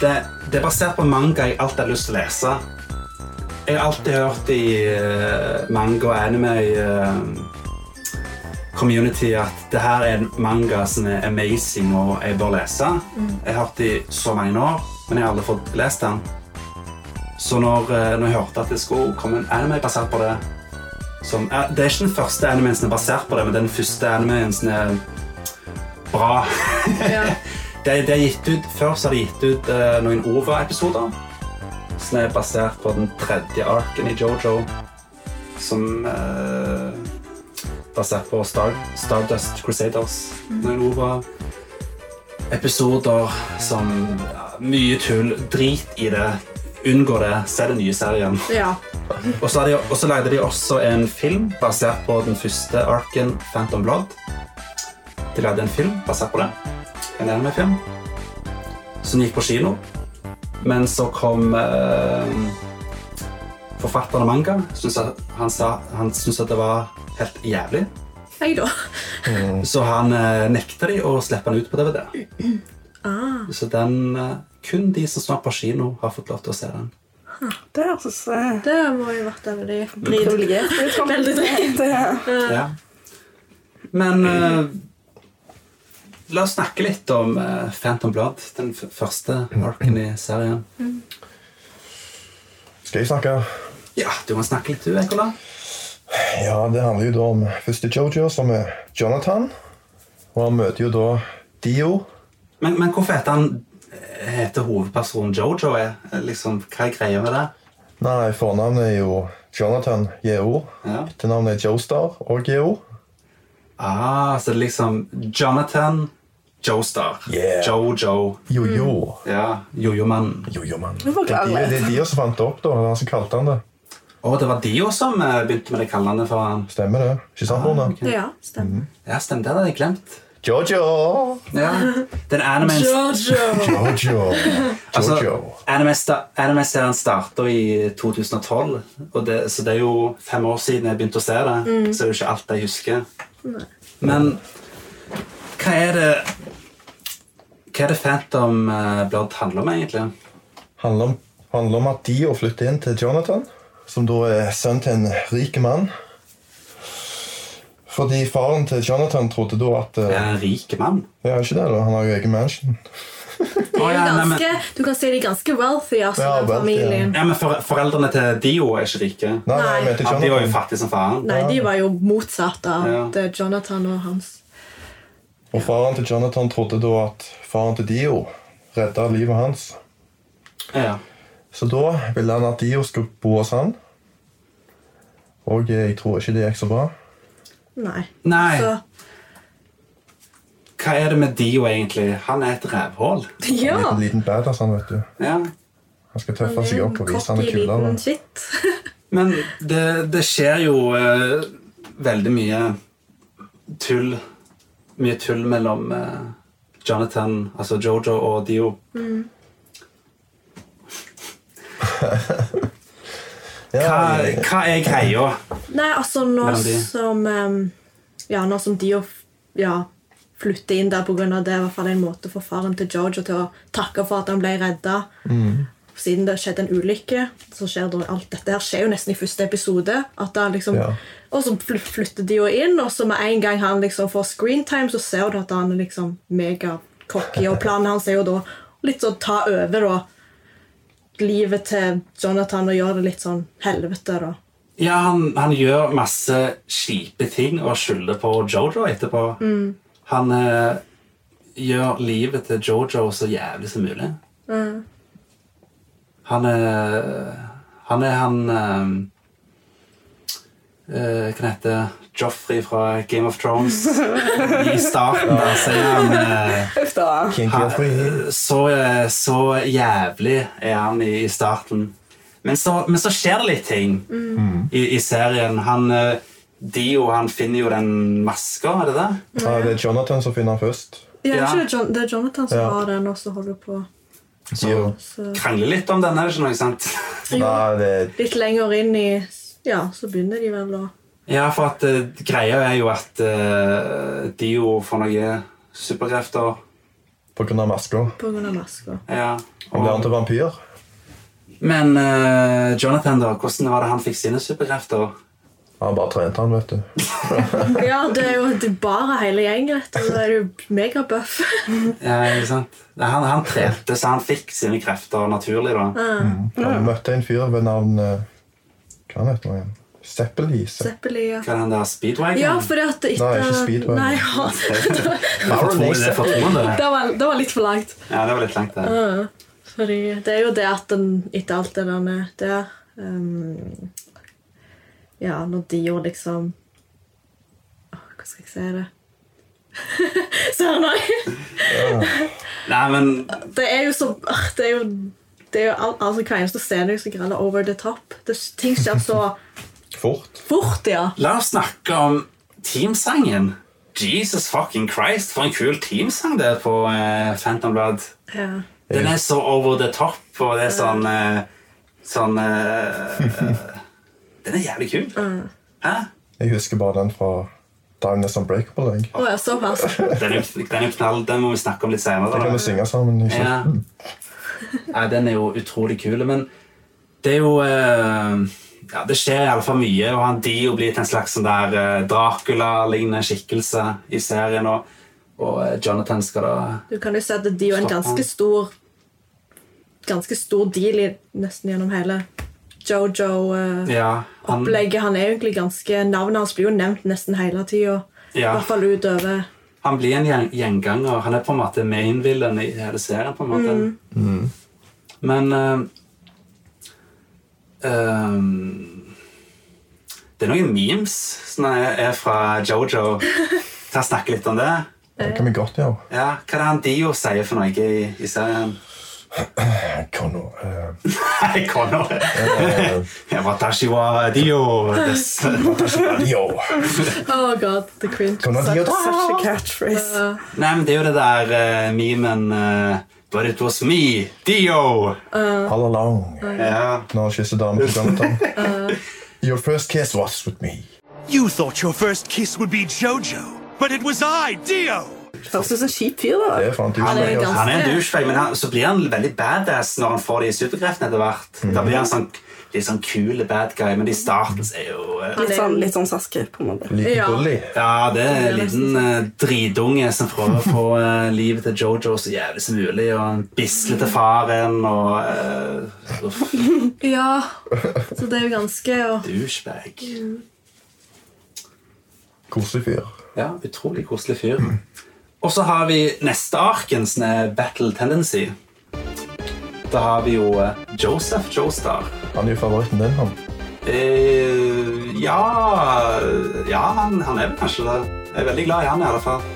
S1: det, det er basert på en manga jeg alltid har lyst til å lese. Jeg har alltid hørt i eh, manga og anime eh, community at det her er en manga som er amazing og jeg bør lese. Jeg har hørt i så mange år, men jeg har aldri fått lest den. Så når, eh, når jeg hørte at det skulle komme en anime basert på det som, eh, Det er ikke den første animen som er basert på det, men det er den første animen som er bra. *laughs* det, det er gitt ut, før så har de gitt ut eh, noen OVA-episoder som er basert på den tredje arken i Jojo, som eh, basert på Star, Stardust Crusaders. Noen OVA-episoder som ja, Mye tull. Drit i det. Unngå det. Se den nye serien.
S4: ja.
S1: Og så, har de, og så lagde de også en film basert på den første arken, Phantom Blood. De lagde en film basert på det. En anime-film. Som gikk på kino. Men så kom eh, forfatteren av manga. Syntes at, han, sa, han syntes at det var helt jævlig.
S4: Jeg, da.
S1: Så han eh, nekta de å slippe den ut på DVD. Så den eh, kun de som snart på kino, har fått lov til å se den.
S3: Det høres eh,
S4: Det må jo vært *laughs* veldig
S3: privilegert ut. kan man
S4: Veldig
S3: si. Det-
S1: Ja. Men eh, la oss snakke litt om eh, Phantom Blood, den f første arken i serien.
S2: Skal jeg snakke?
S1: Ja, du må snakke litt du, Ekola.
S2: Ja, det handler jo da om første Jojo, som er Jonathan. Og han møter jo da Dio.
S1: Men, men hvorfor heter han eh, heter hovedpersonen Jojo? Er? Liksom, hva er greia med det?
S2: Nei, fornavnet er jo Jonathan GO.
S1: Ja.
S2: Etternavnet er Joestar og GO.
S1: Ah, så det er liksom Jonathan Joestar.
S2: Yeah.
S1: Jojo.
S2: Jojo.
S1: Ja, Jojo-mannen.
S2: Jojo-mann.
S3: Du
S2: Det er
S3: forklarer
S2: Dio-
S3: meg.
S2: det er Dio som fant det opp, da. Det var han som kalte han det.
S1: Og det var Dio som eh, begynte med det kallenavnet for han.
S2: Stemmer det? Ikke sant, Mona?
S1: Ah.
S4: Ja,
S2: Mm.
S4: stemmer.
S1: Ja, stemmer. Det hadde jeg glemt. *laughs*
S2: Jojo!
S1: Ja. Den anime-
S4: *laughs*
S2: Jojo.
S1: altså,
S2: Jojo.
S1: anime-sta- Anime-serien starta i 2012, og det, så det er jo fem år siden jeg begynte å se det.
S5: Mm.
S1: Så det er jo ikke alt jeg husker. Men hva er det Hva er det Phantom eh, Blood handler om, egentlig?
S2: handler om, handler om at Dio flytter inn til Jonathan, som da er sønn til en rik mann. Fordi faren til Jonathan trodde da at
S1: Er
S2: eh,
S1: han en rik mann?
S2: Ja, ikke det, da? Han har jo egen mansion.
S1: Å, ja, nei, men,
S5: Ganske, du kan si de er ganske wealthy, altså,
S2: Ja,
S5: den
S2: wealthy,
S5: familien.
S1: ja, men for, Foreldrene til Dio er ikke rike.
S2: Nei, nei, jeg
S5: Nei.
S2: mente
S1: Ja, de var jo
S2: Jonathan.
S1: fattige som faen.
S5: Nei, de var jo motsatt av
S1: Ja.
S4: eh,
S5: det Jonathan og hans.
S2: Og faren til Jonathan trodde da at faren til Dio redda livet hans.
S1: Ja.
S2: Så da ville han at Dio skulle bo hos han. Og eh, jeg tror ikke det gikk så bra.
S4: Nei.
S1: Nei,
S4: Så
S1: hva er det med Dio, egentlig? Han er et rævhull.
S2: Han er
S5: Ja!
S2: En liten badass, han, vet du.
S1: Ja.
S2: Han skal tøffe seg opp og vise han er
S4: cocky
S2: kulere.
S4: liten shit.
S1: Men det, det skjer jo eh, veldig mye tull Mye tull mellom eh, Jonathan, altså Jojo, og Dio. Hva,
S2: Ja, jeg-
S1: hva er greia?
S4: Nei, altså nå
S1: Mellom de.
S4: som ehm, Ja, nå som Dio f- ja, flytter inn der pga. det, er i hvert fall en måte for faren til Jojo til å takke for at han ble redda.
S1: Mm.
S4: Siden det skjedde en ulykke, så skjer det alt dette her skjer jo nesten i første episode. At da liksom,
S2: Ja.
S4: Og så fl- flytter Dio inn, og så med en gang han liksom får screentime, så ser du at han er liksom megacocky, og planen hans er jo da litt sånn ta over da, livet til Jonathan og gjøre det litt sånn helvete, da.
S1: Ja, han, han gjør masse kjipe ting og skylder på Jojo etterpå. Han eh, gjør livet til Jojo så jævlig som mulig. Han er Han er han eh, eh, Hva heter det? Joffrey fra Game of Thrones. I starten der sier han eh,
S3: Uff da.
S2: King
S1: Ha-
S2: Geoffrey.
S1: så, eh, så jævlig er han i, i starten. Men så, men så skjer det litt ting i, i serien. Han, eh, Dio han finner jo den maska, er det det?
S2: Ja, det er Jonathan som finner han først.
S4: Ja,
S1: Ja.
S4: Ikke det, Jon det er Jonathan som
S2: Ja.
S4: har den, og så holder på
S2: Dio.
S4: så
S1: Krangler litt om den, er det ikke noe? sant? *laughs*
S2: Nei, det er
S4: Litt lenger inn i Ja, så begynner de vel å
S1: Ja, for at eh, greia er jo at eh, Dio får noen superkrefter.
S2: på grunn av masker.
S4: På grunn av masker.
S1: Ja.
S2: Han ble han
S1: Og,
S2: til vampyr.
S1: men eh, Jonathan, da, hvordan var det han fikk sine superkrefter?
S2: Han bare trente han, vet du.
S4: *laughs* Ja, det er jo det er bare hele gjengen, rett og slett. Da er du megabuff. *laughs*
S1: Ja, ikke sant? Han, han trente, så han fikk sine krefter naturlig, da.
S2: Han møtte en fyr ved navn eh, Hva han heter han igjen? Seppelise.
S4: Zeppeli, ja.
S1: Hva er den der speedwagon?
S4: Ja, fordi at etter
S2: Nei, ikke speedwagon.
S4: Nei, *laughs* ja,
S1: Tror du det er fortroende?
S4: det, var, det var litt for langt.
S1: Ja, det var litt langt, det.
S4: Fordi det er jo det at den, etter alt det der med- der ehm, Ja, når Dio liksom Åh, Hva skal jeg si det? *laughs* Søren òg!
S1: Nei, men
S4: Det er jo så ah, Det er jo, det er jo al altså, Hver eneste scene er jo så grann over the top. Det, ting skjer så
S2: Fort.
S4: fort, ja.
S1: la oss snakke om teamsangen. Jesus fucking Christ, for en kul teamsang det er på eh, Phantom Blood.
S4: ja.
S1: Den er så over the top, og det er sånn eh, Sånn
S2: *laughs*
S1: eh, eh, Den er jævlig kul. Hæ?
S2: Jeg husker bare den fra Darkness Unbreakable. Jeg.
S4: Å ja, såpass.
S1: Den er, den er knall, den må vi snakke om litt
S2: Kan
S1: senere.
S2: vi synge sammen? Ikke?
S1: Ja.
S2: sant?
S1: Nei, den er jo utrolig kul, men det er jo eh, ja, Det skjer i alle fall mye, og han Dio blir til en slags sånn der eh, Dracula-lignende skikkelse i serien. Og, og eh, Jonathan skal da
S4: Du kan jo si at Dio er en ganske stor Ganske stor deal i, nesten gjennom hele Jojo-opplegget.
S1: Ja, han,
S4: han er jo egentlig ganske Navnet hans blir jo nevnt nesten hele tida. I
S1: ja,
S4: hvert fall utover
S1: han blir en gjeng- gjenganger. Han er på en måte mainvillen i hele serien. på en måte. Men eh, ehm, Det er noen memes som er er fra Jojo. Kan jeg snakke litt om det?
S2: Det kan vi godt gjøre.
S1: Ja, Hva er det han Dio sier for noe i, i serien? *laughs*
S2: Connor, eh,
S1: Nei, Connor. Jeg var Tashiwa Dio. This, Watashiwa
S2: *laughs* Yo!
S4: Oh god, the cringe.
S2: Connor, de gjør-
S3: Such a catchphrase.
S1: Nei, men det er jo det der eh, memen eh, But it was me, Dio!
S2: All along.
S1: Ja.
S2: Når han kysser damen på
S4: *laughs*
S2: Jonathan.
S4: Uh.
S2: Your first kiss was with me.
S8: You thought your first kiss would be JoJo, but it was I, Dio!
S3: Høres ut som en kjip fyr,
S2: Det
S3: da.
S2: er faen tusen
S1: Han er,
S2: takk, altså.
S1: han er en douchebag, men han, så blir han veldig badass når han får de superkreftene etter hvert. Da blir han sånn, litt sånn kule bad guy, men i starten så er jo eh,
S3: Litt sånn, litt sånn Sasuke, på en måte.
S2: Liten
S4: Ja.
S2: bully.
S1: Ja, det er en liten eh, dritunge som prøver å få eh, livet til Jojo så jævlig som mulig, og han bisler til faren, og eh, uff,
S4: Ja, så det er jo ganske og,
S1: douchebag.
S2: Koselig fyr.
S1: Ja, utrolig koselig fyr. Og så har vi neste arken, som er eh, Battle Tendency. Da har vi jo eh, Joseph Joestar.
S2: Han er jo favoritten din, han.
S1: Eh, ja Ja, han, han er vel kanskje det. Jeg er veldig glad i han i alle fall.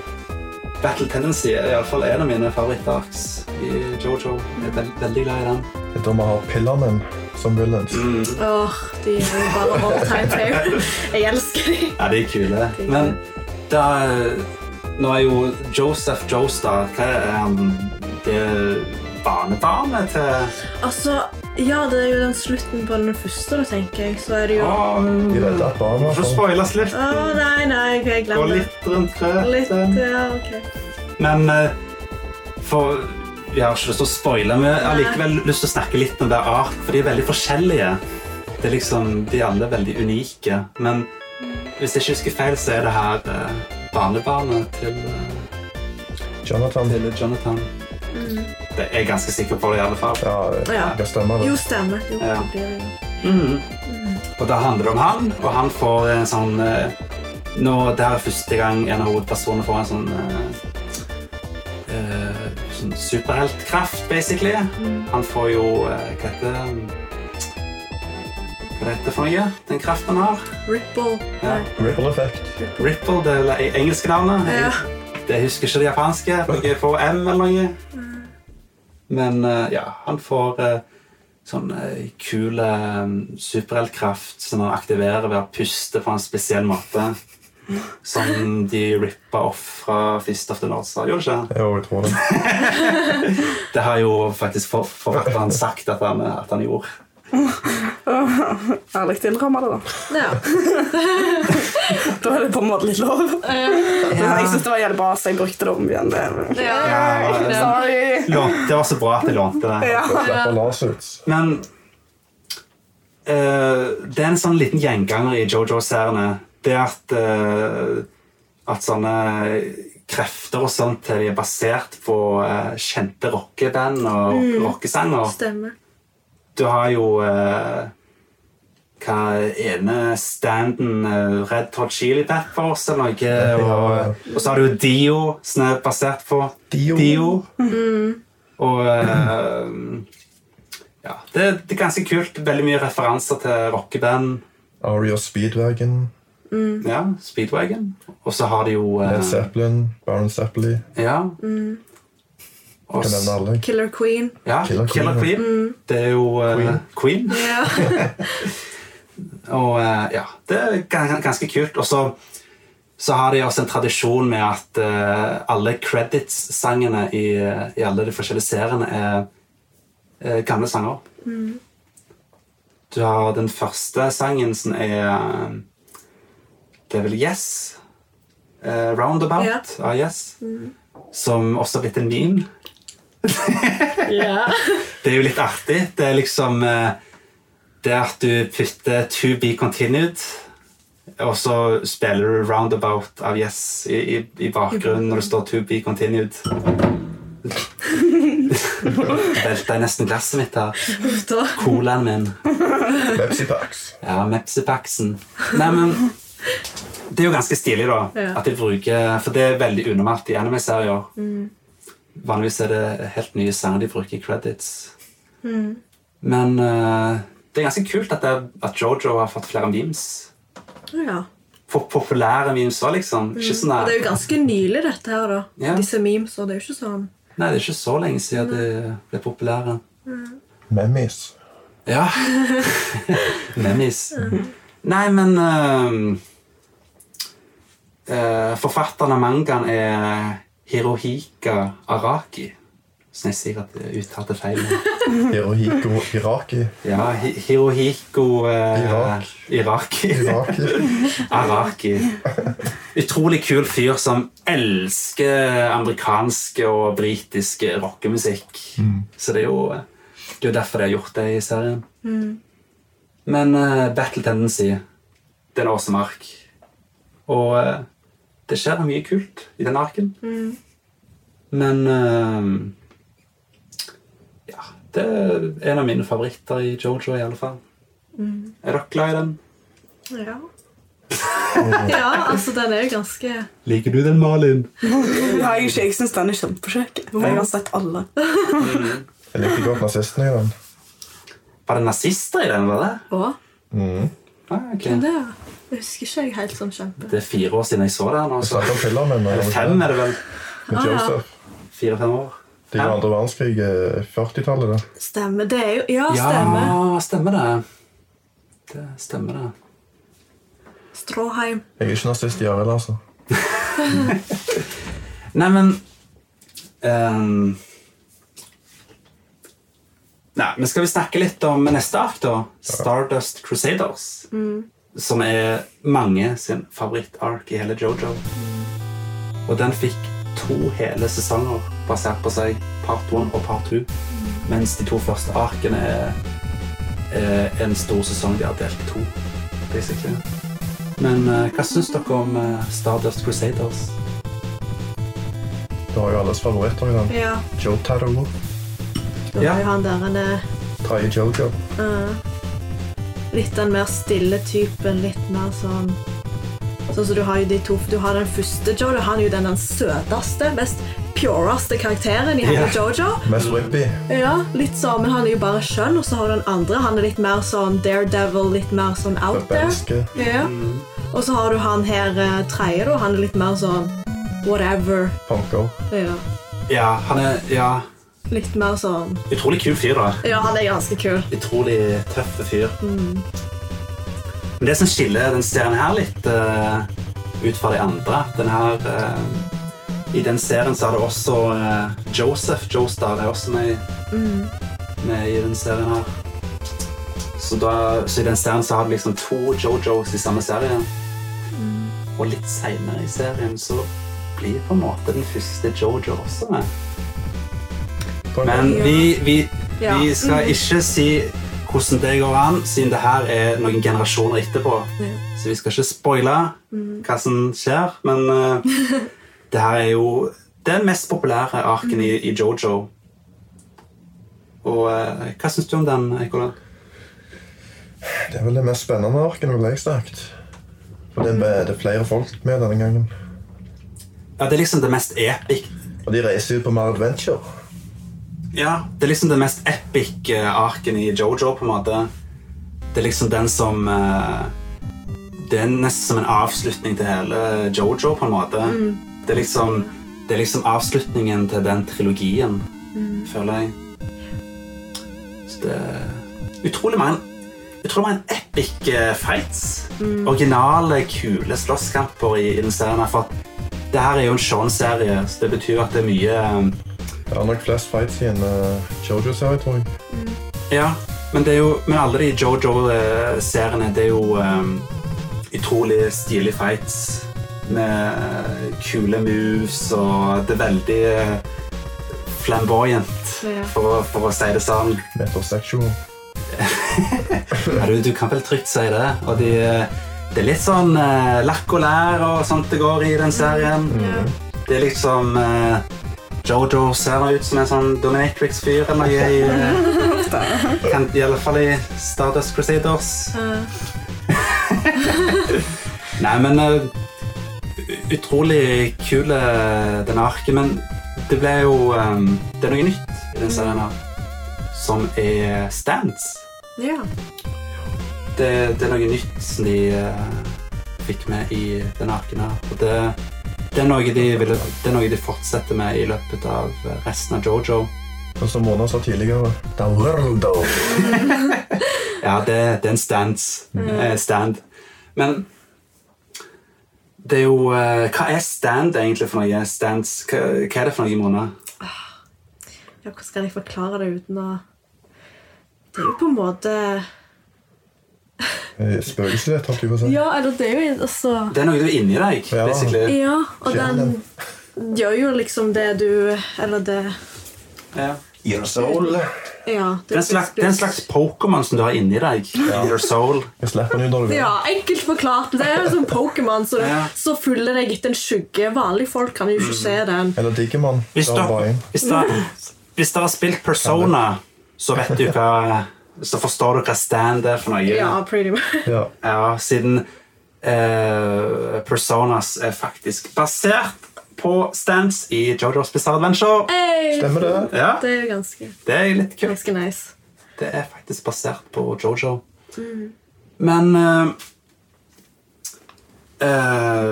S1: Battle Tendency er i alle fall en av mine favorittarks i Jojo. Jeg er veld, veldig glad i den.
S2: Det er da vi har Pillarmen som villains.
S4: Åh, de er jo bare all time favorite. Jeg elsker de.
S1: Ja, de er kule. Men da eh, Nå er jo Joseph Joestar Hva er han? Det er barnebarnet til
S4: Altså, ja, det er jo den slutten på den første, da, tenker jeg. Så er det jo Å,
S1: Åh,
S2: De redder et barn.
S1: Får
S2: altså.
S1: spoiles litt.
S4: nei, nei, ok, jeg
S1: Gå
S4: glemmer det.
S1: litt rundt grøten.
S4: Litt, ja, ok.
S1: Men eh, for Vi har ikke lyst til å spoile, men jeg har likevel lyst til å snakke litt om hver art, for de er veldig forskjellige. Det er liksom, De er alle veldig unike. Men hvis jeg ikke husker feil, så er det her eh, barnebarnet til, eh,
S2: Jonathan.
S1: til Jonathan. Det er jeg ganske sikker på det, i alle fall.
S2: Ja, eh,
S4: Ja.
S2: det stemmer.
S4: Jo,
S2: det.
S4: stemmer. Jo,
S1: Ja.
S4: det blir det jo.
S1: Og da handler det om han, og han får en sånn eh, Nå, Det her er første gang en av hovedpersonene får en sånn eh, eh, Sånn superheltkraft, basically. Han får jo eh, Hva heter det? Hva heter det for noe? Den kraften han har?
S4: Ripple.
S1: Ja.
S2: Ripple effect.
S1: Ripple, det er det engelske navnet.
S4: Ja.
S1: Jeg husker ikke det japanske. Noe får M eller noe. Men eh, ja, han får eh, sånn eh, kul eh, superheltkraft som han aktiverer ved å puste på en spesiell måte. Som de rippa off fra Fist of the North Star. Gjorde de ikke? det?
S2: Jo, jeg tror
S4: *laughs*
S2: det.
S1: Det har jo faktisk for- forfatteren sagt at han, at han gjorde.
S3: Ærlig tilramma det, da.
S4: Ja.
S3: Da er det på en måte litt lov. Jeg syns det var jævlig bra, så jeg brukte det om igjen. Det.
S1: Ja,
S3: Sorry.
S1: lånte, det var så bra at jeg lånte det.
S3: Ja.
S2: Slapper lasers.
S1: Men eh, det er en sånn liten gjenganger i Jojo-seriene. Det er at, eh, at sånne krefter og sånt de er basert på eh, kjente rockeband og rockesanger.
S4: Stemmer.
S1: Du har jo eh, hva ene standen eh, Red Hot Chili Peppers eller noe. Og, og så har du jo Dio, som er basert på
S2: Dio.
S1: Og eh, ja, det, det er ganske kult. Veldig mye referanser til rockeband.
S2: Aria Speedwagon.
S1: Ja, Speedwagon. Og så har de jo eh,
S2: Led Zeppelin. Baron Zeppeli.
S1: Ja. Og
S2: Kan
S1: s-
S2: nevne alle.
S4: Killer Queen.
S1: Ja,
S2: Killer
S1: Killer
S2: Queen,
S1: Queen.
S2: ja.
S1: Det er jo eh,
S2: Queen.
S1: Queen.
S4: Ja.
S1: Og eh, ja, det er gan- ganske kult. Og så så har de også en tradisjon med at eh, alle credits-sangene i, i alle de forskjellige seriene er eh, gamle sanger. Du har den første sangen som er eh, Det er vel Yes? eh, roundabout
S4: Ja.
S1: av Yes. Som også har blitt en meme. Det er jo litt artig. Det er liksom eh, Det at du putter To be continued, og så spiller du Roundabout av Yes i, i, i bakgrunnen når det står To be continued. Velta jeg nesten glasset mitt her.
S4: Da.
S1: Colaen min.
S2: Pepsi Pax.
S1: Ja, Mepsipaksen. Nei, men det er jo ganske stilig, da.
S4: Ja.
S1: At de bruker For det er veldig unormalt i anime-serier.
S4: Mm.
S1: Vanligvis er det helt nye sanger de bruker i credits.
S4: Mm.
S1: Men eh, det er ganske kult at, det, at Jojo har fått flere memes.
S4: Ja.
S1: For populære memes òg, liksom. Ikke sånn
S4: Mm. Og
S1: der-
S4: det er jo ganske nylig, dette her, da.
S1: Ja.
S4: Disse memes. Og det er jo ikke sånn
S1: Nei, det er ikke så lenge siden det ble populære.
S2: Memmis.
S1: Ja. Memis. Nei, men eh, eh, Forfatteren av mangaen er Hirohika Araki. Så jeg sier at jeg uttalte feil.
S2: Hirohiko Iraki.
S1: Ja, Hi- Hirohiko eh,
S2: Irak.
S1: Iraki.
S2: Iraki.
S1: Araki. Utrolig kul fyr som elsker amerikansk og britisk rockemusikk. Så det er jo det er jo derfor de har gjort det i serien. Men eh, Battle Tendency, det er en awesome ark. Og eh, det skjer mye kult i den arken. Men eh, ja, det er en av mine favoritter i Jojo, i alle fall. Er dere glad i den? *laughs*
S4: Ja. ja, altså, den er jo ganske
S1: Liker du den, Malin?
S3: Nei, jeg, ikke- jeg syns den er kjempekjekk. Jeg har sett alle.
S2: Jeg likte godt nazistene i den.
S1: Var det nazister i den? var det?
S4: Å,
S1: Ah, ok.
S4: det er- Jeg husker ikke jeg helt sånn kjempe.
S1: Det er fire år siden jeg så den.
S2: Jeg
S1: Altså.
S2: snakket om filmen med,
S1: Eller fem, er det vel?
S2: med Joseph.
S1: Fire-fem år.
S2: Det er jo andre verdenskrig, eh, 40-tallet. det.
S4: Stemmer. Det er jo Ja, stemmer.
S1: Ja, stemmer det. Det stemmer det.
S4: Stråheim.
S2: Jeg er ikke nazist i RL, altså.
S1: Nei, men ehm, Nei, men skal vi snakke litt om neste ark, da? Stardust Crusaders. Som er mange sin favorittark i hele Jojo. Og den fikk to hele sesonger basert på seg, part 1 og part 2. Mens de to første arkene er, er en stor sesong de har delt i to. Basically. Men eh, hva syns dere om eh, Stardust Crusaders?
S2: Du har jo alles favoritter i den.
S4: Ja.
S2: Joe Taro.
S4: ja. Han der han er eh,
S2: Tai Jojo.
S4: litt den mer stille typen. Litt mer sånn Sånn som du har jo de to Du har den første Jojo. Han er jo den, den søteste, mest pureste karakteren i hele
S1: Ja.
S4: Jojo.
S2: Mest whippy.
S4: Ja, litt sånn, men han er jo bare skjønn. Og så har du den andre. Han er litt mer sånn daredevil, litt mer sånn out there.
S2: Rebelske.
S4: Ja. Og så har du han her eh, tredje, da. Han er litt mer sånn whatever.
S2: Punker.
S4: Ja.
S1: Ja, han er ja,
S4: Litt mer sånn
S1: utrolig kul fyr, da.
S4: Ja, han er ganske kul.
S1: Utrolig tøff fyr. Men det som skiller den serien her litt eh, ut fra de andre den her, eh, I den serien så er det også eh, Joseph Joestar. Det er også med, med i den serien her. Så, da, så i den serien så har du liksom to Jojos i samme serien. Og litt seinere i serien så blir på en måte den første Jojo også med.
S2: På en
S1: Men
S4: Ja.
S1: vi, vi,
S4: Ja. Mm.
S1: vi skal ikke si hvordan det går an, siden det her er noen generasjoner etterpå.
S4: Ja. Mm.
S1: Så vi skal ikke spoile hva som skjer, men
S4: *laughs*
S1: eh, det her er jo den mest populære arken i, i Jojo. Og eh, hva syns du om den, Ekola?
S2: Det er vel det mest spennende arken, ville jeg sagt. For det er, be- det er flere folk med denne gangen.
S1: Ja, det er liksom det mest epic
S2: Og de reiser ut på mer adventure.
S1: Ja, det er liksom den mest epic eh, arken i Jojo, på en måte. Det er liksom den som eh, Det er nesten som en avslutning til hele Jojo, på en måte. Det, er liksom, det er liksom avslutningen til den trilogien, føler jeg. Så det er utrolig mange Utrolig mange epic eh, fights. Originale, kule slåsskamper i, i den serien. her, For at det her er jo en Shaun-serie, så det betyr at det er mye eh,
S2: Det er nok flest fights i en uh, Jojo-serie, tror jeg.
S1: Ja, men, det er jo, men alle de Jojo-seriene, det er jo ehm, utrolig stilige fights med eh, kule moves, og det er veldig eh, flamboyant,
S4: Ja.
S1: for, å- for å si det sånn.
S2: Metrosektion.
S1: Ja, du, du kan vel trygt si det. Og de, eh, det er litt sånn eh, lakk og lær og sånt det går i den serien. Det er liksom eh, Jojo ser ut som en sånn dominatrix-fyr eller noe i eh, kan, I alle fall i Stardust Crusaders. Nei, men eh, ut- Utrolig kul eh, denne arket, men det ble jo eh, Det er noe nytt i denne serien her, som er stands.
S5: Ja.
S1: Det, det er noe nytt som de eh, fikk med i denne arken her. Og det, det, er noe de ville, det er noe de fortsetter med i løpet av resten av Jojo.
S2: Og som Mona sa tidligere The world of
S1: Ja, det, det er en stands, eh, stand. Men det er jo eh, Hva er stand egentlig for noe? Stands, hva, hva er det for noe, Mona?
S4: Ja, hvordan skal jeg forklare det uten å Det er jo på en måte
S2: eh, spøkelseslighet, holdt jeg på å si.
S5: ja, eller det er jo altså
S1: Det er noe du er inni deg,
S2: Ja.
S1: basically.
S4: Ja, og den gjør jo liksom det du Eller det
S1: Ja.
S2: Your soul.
S4: Ja.
S1: Det er en slags, det er en slags Pokémon som du har inni deg. Your soul.
S2: Jeg slipper den ut når du vil.
S4: Ja, enkelt forklart. Det er jo som Pokémon, så,
S1: Ja. Mm.
S4: så følger deg etter en skygge. Vanlige folk kan jo ikke se den.
S2: Eller Digimon.
S1: Hvis
S2: Da
S1: dere
S2: var jeg inn.
S1: hvis dere- hvis dere har spilt Persona, så vet du hva Så forstår du hva stand er for noe.
S4: Ja, pretty much. *laughs*
S2: Ja.
S1: Ja, siden eh, Personas er faktisk basert på stands i Jojo's Bizarre Adventure.
S4: Hey,
S2: Stemmer det?
S1: Ja,
S4: det er jo ganske,
S1: det er litt kult.
S4: ganske nice.
S1: Det er faktisk basert på Jojo. Men eh,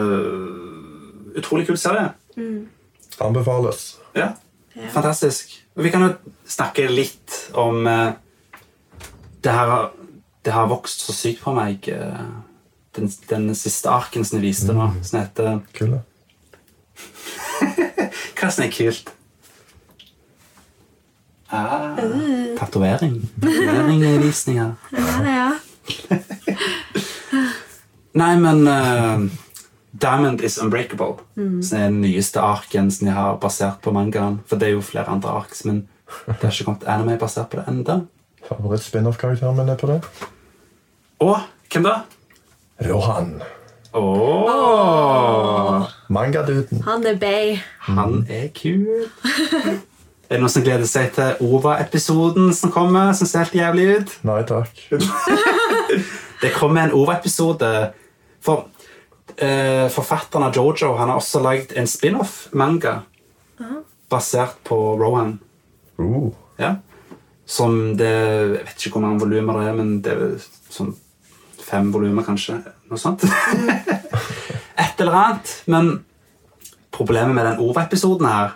S1: eh, Utrolig kul serie.
S2: Anbefales.
S1: Ja. Fantastisk. Og Vi kan jo snakke litt om eh, det, her, det har vokst så sykt på meg, eh, den, den siste arken som jeg viste nå, som heter
S2: Kule.
S1: Hva som er kult? Ah, Tatovering. Tatoveringvisning her.
S4: Ja,
S1: Nei, men eh, Diamond is Unbreakable, som er den nyeste arken som de har basert på mangaen. For det er jo flere andre ark, men det har ikke kommet anime basert på det enda.
S2: Favoritt-spin-off-karakteren min er på det.
S1: Og hvem da?
S2: Rohan.
S1: Åh,
S2: Mangaduden.
S4: han er bay.
S1: han er kul. Er det noen som gleder seg til OVA-episoden som kommer? som ser helt jævlig ut?
S2: Nei takk.
S1: Det kommer en OVA-episode. For eh, forfatteren av Jojo han har også lagd en spin-off-manga basert på Rohan.
S2: Uh.
S1: Ja. Som det Jeg vet ikke hvor mange volumer det er, men det er vel sånn fem volumer, kanskje. Noe sånt. Et eller annet. Men problemet med den OVA-episoden her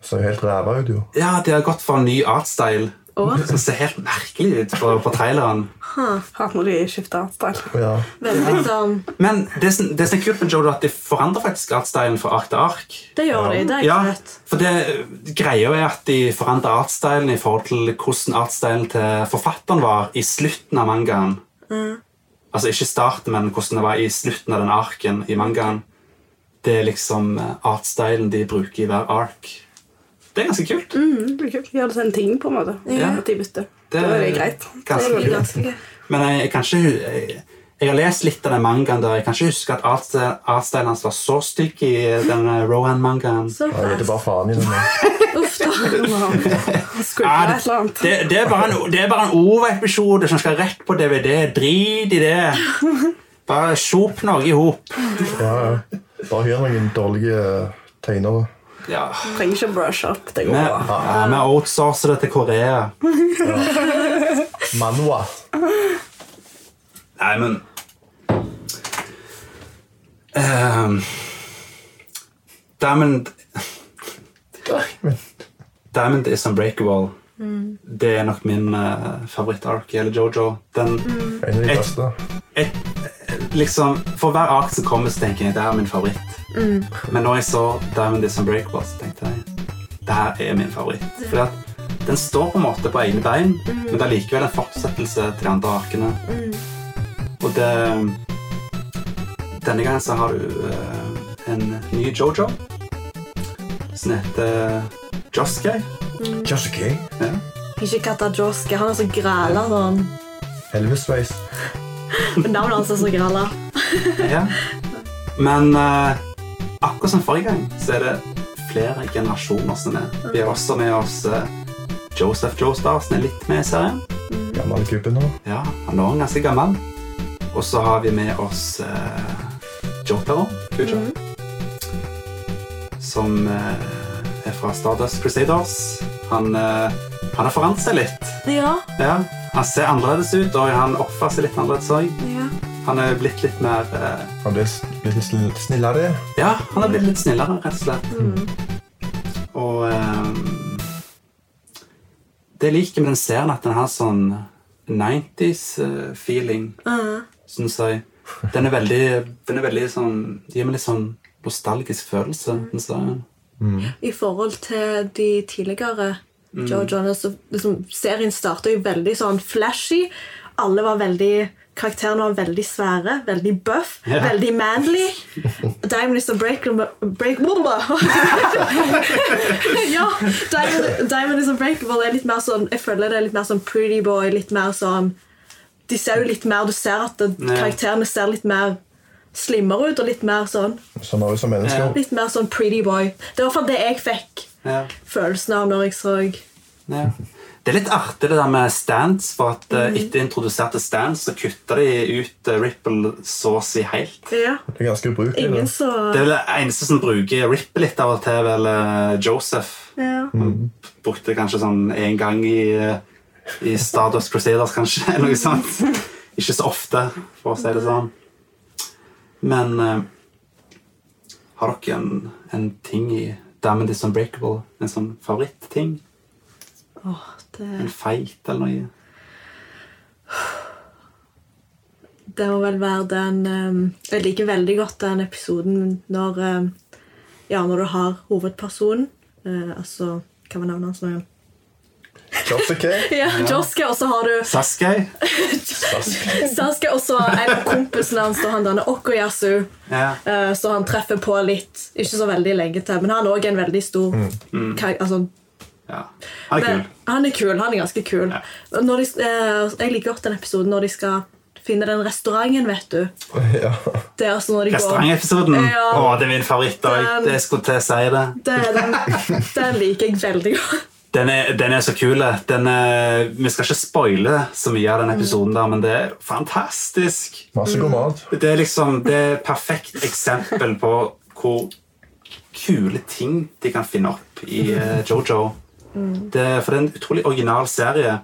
S2: Ser jo helt ræva ut, jo.
S1: Ja, de har gått for en ny artstyle. *laughs* Som ser helt merkelig ut på, på traileren.
S3: Hardt når de skifter style.
S2: Ja.
S4: Veldig sånn
S1: Men det som, det som er kult med Jodo, er at de forandrer faktisk artstylen fra ark til ark.
S4: Det gjør de. Det er
S1: Ja,
S4: ikke rett.
S1: for det Greia er at de forandrer artstylen i forhold til hvordan artstylen til forfatteren var i slutten av mangaen.
S3: Mm.
S1: Altså ikke starten, men hvordan det var i slutten av den arken i mangaen. Det er liksom eh, artstylen de bruker i hver ark. Det er ganske kult.
S3: Det blir kult. Gjør det til en ting, på en måte.
S1: Ja.
S3: At de bytter. Da er Mm. det greit.
S1: Ganske
S3: Det er
S1: kult. Men jeg, jeg kan ikke hu- jeg, jeg har lest litt av den mangaen der. Jeg kan ikke huske at artstylen artstylen hans var så stygg i den eh, Rohan-mangaen.
S4: Så
S2: Jeg vet bare faen i den. nå.
S4: Uff da.
S1: Ja,
S3: Skriver
S1: det-
S3: et eller annet.
S1: Det, det er bare en, det er bare en OV-episode som skal rett på DVD. Drit i det. Bare sjop noe i hop.
S2: Ja, ja. Bare hyr noen dårlige eh, tegnere.
S1: Ja.
S3: Trenger ikke brush up. Det
S1: Vi,
S3: går bra.
S1: ja, vi outsourcer det til Korea.
S2: Manwa.
S1: Nei, men Ehm, Diamond Diamond is unbreakable. Det er nok min uh, favoritt-ark i hele Jojo. Den,
S2: En av de
S1: Et-
S2: beste.
S1: jeg, liksom, for hver ark som kommer, så tenker jeg det her er min favoritt. Men når jeg så Diamond is Unbreakable, så tenkte jeg det her er min favoritt. Fordi at den står på en måte på egne bein, men det er likevel en fortsettelse til de andre arkene. Og det Denne gangen så har du eh, en ny Jojo som heter Joskei.
S2: Just okay.
S4: Ikke Katajoske. Han er så græla sånn.
S2: Elvis-sveis.
S4: Navnet hans er så græla.
S1: Ja. Men eh, akkurat som forrige gang, så er det flere generasjoner som er med. Vi har også med oss eh, Joseph Joestar, som er litt med i serien.
S2: Gammel gubbe nå.
S1: Ja, Han er også ganske gammel. Og så har vi med oss eh, Jotaro, Kujo, som eh, er fra Stardust Crusaders. Han, eh, han har forandret seg litt.
S4: Ja,
S1: Ja, Han ser annerledes ut, og han oppfører seg litt annerledes òg.
S4: ja.
S1: Han er blitt litt mer eh,
S2: Han blir s- litt snill- snillere.
S1: Ja, han har blitt litt snillere, rett og slett. Og ehm, det jeg liker med den serien, at den har sånn 90s-feeling, syns jeg. Den er veldig, den er veldig sånn Det gir meg litt sånn nostalgisk følelse, den serien.
S4: I forhold til de tidligere
S1: Mm.
S4: Joe Jonas, så liksom, Serien starta jo veldig sånn flashy. Alle var veldig Karakterene var veldig svære, veldig buff,
S1: Ja.
S4: veldig
S1: *laughs*
S4: manly. Diamond is a break... break *laughs* ja, Diamond, Diamond is a breakable er litt mer sånn Jeg føler det er litt mer sånn pretty boy, litt mer sånn De ser jo litt mer Du ser at det,
S1: Ja.
S4: karakterene ser litt mer slimmere ut, og litt mer sånn
S2: Sånn er vi som mennesker.
S4: Litt mer sånn pretty boy. Det var i hvert fall det jeg fikk
S1: Ja,
S4: følelsen av når jeg så
S1: ja. Det er litt artig det der med stands, for at eh, etter introduserte stands så kutter de ut eh, Ripple så å si helt.
S4: Ja,
S2: Det er ganske ubrukelig.
S4: ingen
S2: det.
S4: så
S1: Det er vel det eneste som bruker Ripple litt av og til, vel eh, Joseph.
S4: ja.
S1: Brukte kanskje sånn én gang i, eh, i Stardust Crusaders, kanskje. *laughs* eller noe sånt. Ikke så ofte, for å si det sånn. Men eh, har dere en, en ting i Diamond is Unbreakable? En sånn favoritting?
S4: Åh, det,
S1: En feit eller noe?
S4: det må vel være den ehm, Jeg liker veldig godt den episoden når ehm, Ja, når du har hovedpersonen eh, Altså, hva var navnet hans nå igjen?
S2: Jossica.
S4: Ja, Joske, og så har du
S1: Saskai?
S4: Sasuke, og så en av kompisene hans, da han denne Okoyasu,
S1: Ja.
S4: eh, så han treffer på litt, ikke så veldig lenge til, men han er òg en veldig stor kar- altså,
S1: ja. Han er
S4: Men
S1: kul.
S4: han er kul, han er ganske kul.
S1: Ja.
S4: Når de, eh, jeg liker godt den episoden når de skal finne den restauranten, vet du.
S2: Ja.
S4: Det er altså når de går
S1: Restaurantepisoden?
S4: Ja.
S1: Å, det er min favoritt. og jeg-
S4: Den-
S1: Jeg skulle til å si det.
S4: det er den, den liker jeg veldig godt.
S1: Den er, den er så kul. Den er, vi skal ikke spoile så mye av den episoden, der, men det er fantastisk.
S2: Masse god mat.
S1: Det er liksom det er et perfekt eksempel på hvor kule ting de kan finne opp i eh, Jojo. Det, for det er en utrolig original serie.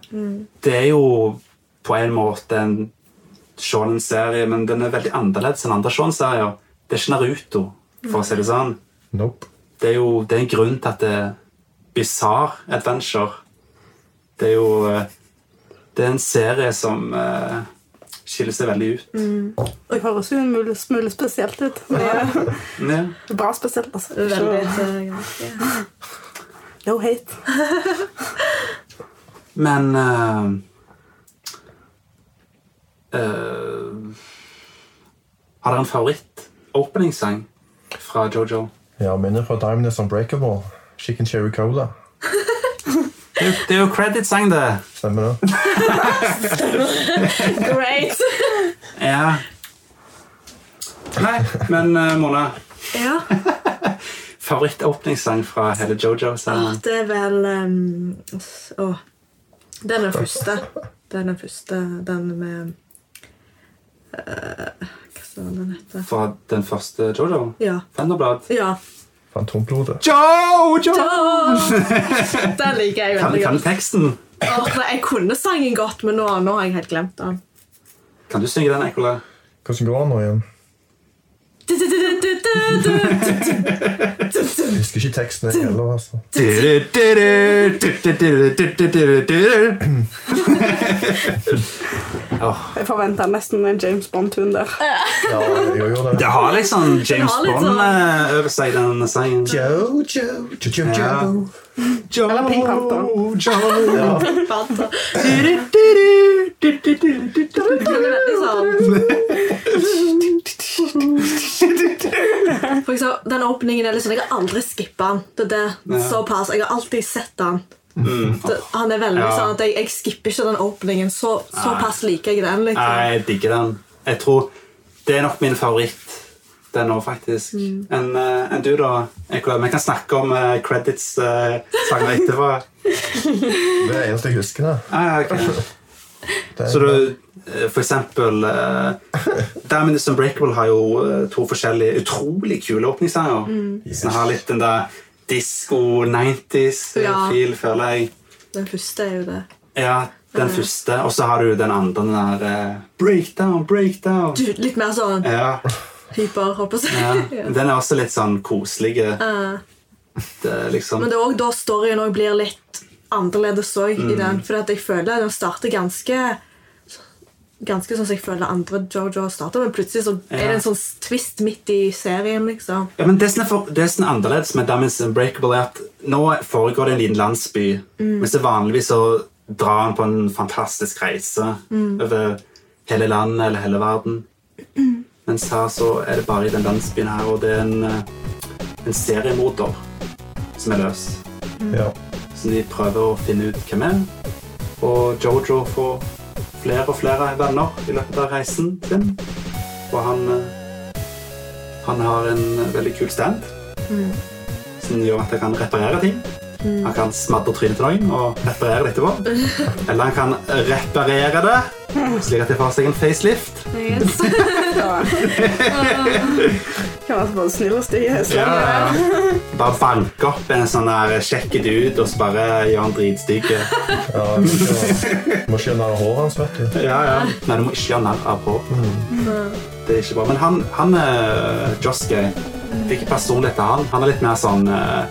S1: Det er jo på en måte en shonen-serie, men den er veldig annerledes enn andre shonen-serier. Det er ikke Naruto, for å si det sånn
S2: Nope.
S1: det er jo det er en grunn til at det er bizarre adventure. Det er jo eh, Det er en serie som eh, skiller seg veldig ut.
S3: Det høres jo en mul- smule spesielt ut. Men det
S1: Ja.
S3: er bra spesielt, altså.
S4: Veldig,
S3: Ikke-
S4: så, ja.
S3: No hate.
S1: Men eh, eh, Har dere en favoritt-openingssang fra Jojo?
S2: Ja, minner fra Diamond is Unbreakable. Chicken cherry cola.
S1: Det er jo, det er jo credit-sang, det.
S2: Stemmer det?
S4: Great!
S1: Ja. Nei, men eh, Mona
S4: Ja,
S1: Favoritt-åpningssang fra hele Jojo-serien?
S4: det er vel ehm, s- Å, den er den første. Det er den første, den med eh, Hva sa den heter?
S1: Fra den første Jojo?
S4: Ja.
S1: Thunderblad.
S4: ja.
S2: Fantomblodet.
S1: Jojo!
S4: Åh, den liker jeg
S1: Kan,
S4: veldig
S1: kan du
S4: godt.
S1: teksten?
S4: Åh, nei, jeg kunne sangen godt, men nå, nå har jeg helt glemt den.
S1: Kan du synge den, Ekola?
S2: Hvordan går han nå igjen? Jeg husker ikke teksten jeg heller, altså.
S3: Jeg forventa nesten en James Bond-tune der.
S2: Ja, jeg gjorde det.
S1: Det har liksom James
S4: har litt
S1: Bond
S4: sånn-
S1: eh, over seg, den sangen.
S2: Jo, jo, jo, jo,
S1: Ja.
S2: jo.
S1: Jojo,
S3: Eller Pink Panther.
S1: Jojo.
S4: Fanta. Den er veldig sånn. For eksempel, den åpningen er litt sånn, Jeg har aldri skippa den. Det er det.
S1: Ja. Mm.
S4: Såpass. Jeg har alltid sett den. Det, han er veldig
S1: Ja.
S4: sånn at jeg, jeg skipper ikke den åpningen. Så, såpass liker jeg den.
S1: Nei,
S4: liksom.
S1: jeg digger den. Jeg tror det er nok min favoritt det nå, faktisk. Enn eh, enn du, da? Nicola? Vi kan snakke om eh, credits-sanger etterpå.
S2: Det er det eneste jeg husker. da.
S1: Ah, ok.
S2: Det er-
S1: Så du, eh, for eksempel eh, Diamond is Unbreakable har jo eh, to forskjellige utrolig kule åpningssanger.
S5: Mm.
S2: Yes.
S1: Som har litt den der disko 90s-feel,
S5: Ja.
S1: føler jeg.
S5: Den første er jo det.
S1: Ja, den første. Og så har du den andre, den der eh, Breakdown, breakdown.
S5: Du, litt mer sånn
S1: Ja,
S5: hyper, håper jeg.
S4: *laughs*
S1: ja.
S5: *laughs* Ja.
S1: Den er også litt sånn koselig.
S4: Ah.
S5: Eh,
S1: Det, er liksom.
S5: Men det er også da storyen også blir litt annerledes også
S1: Mm.
S5: i den. For at jeg føler den starter ganske Ganske sånn som jeg føler andre Jojo starter, men plutselig så er det en sånn twist midt i serien. liksom.
S1: Ja, men det som er, for, det som er annerledes med Diamonds Unbreakable, er at nå foregår det i en liten landsby. Mens det vanligvis så drar han på en fantastisk reise over hele landet eller hele verden. Mens her så er det bare i den landsbyen her, og det er en, eh, en seriemorder som er løs.
S2: Ja.
S1: Så de prøver å finne ut hvem er. Og Jojo får flere og flere venner i løpet av reisen sin. Og han, eh, han har en veldig kul stand som gjør at han kan reparere ting. Han kan smadre trynet til noen og reparere det etterpå. Eller han kan reparere det slik at det får seg en facelift.
S5: Yes.
S3: Ja. Kan være så både snill og stygg i Hesland.
S1: Bare banke opp en sånn der kjekk dude og så bare gjøre han dritstygg.
S2: ja du må- må skjønne håret hans, vet du.
S1: Ja, ja. Nei, du må ikke gjøre narr av Paul. Det er ikke bra. Men han, han eh, Joske Hvilken personlighet er han? Han er litt mer sånn eh,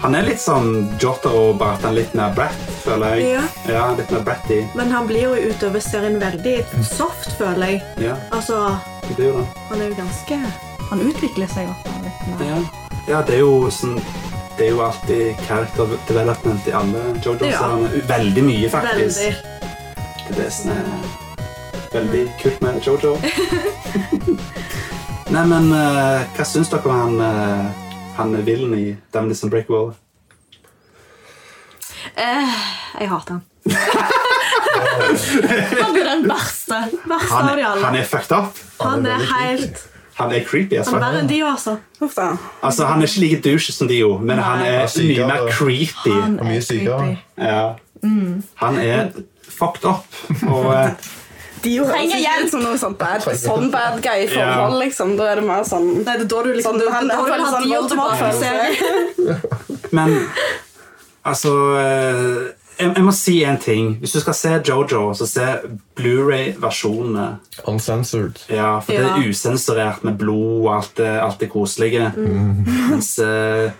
S1: Han er litt sånn Jotaro, bare at han er litt mer brat, føler jeg.
S5: Ja.
S1: Ja, litt mer bratty.
S5: Men han blir jo utover serien veldig soft, føler jeg.
S1: Ja,
S5: Altså,
S1: det er jo det.
S5: han er jo ganske Han utvikler seg jo litt mer.
S1: Ja. ja, det er jo sånn det er jo alltid character development i alle Jojo-seriene. Veldig mye, faktisk.
S5: Veldig.
S1: Det er det som er veldig kult med
S5: *laughs*
S1: Jojo. Nei, men eh, hva syns dere om han, uh, han Villen i Damnedis Unbreakable?
S5: Jeg hater han. han blir den verste. Verste
S1: Han,
S5: av de alle.
S1: han er fucked up.
S5: Han er
S2: veldig
S5: helt
S1: Han er creepy. as
S5: Han er
S1: fuck.
S5: verre enn de, altså.
S3: Uff da.
S1: Altså, han er ikke like douche som de jo, men han er mye
S2: Sykere.
S1: mer creepy.
S5: Han Mm.
S2: Og mye
S5: er
S2: sykere.
S5: creepy.
S1: Ja. Han er fucked up. Og eh,
S3: De jo høres
S5: Trenger
S3: ikke
S5: hjelp.
S3: ut som noe sånn bad, sånn bad guy i forhold, liksom. Da er det mer sånn
S5: Nei, det er da du liksom
S3: Sånn,
S5: du,
S3: han-
S5: da
S3: han
S5: vil
S3: føler
S5: ha
S3: sånn
S5: de og
S3: Voldemort
S5: tilbake i
S3: følelse.
S5: serien.
S1: Men altså eh, jeg, jeg må si én ting. Hvis du skal se Jojo, så se Blu-ray-versjonene.
S2: Uncensored.
S1: Ja, for det
S5: Ja.
S1: er usensurert med blod og alt det, alt det koselige. Mens, eh,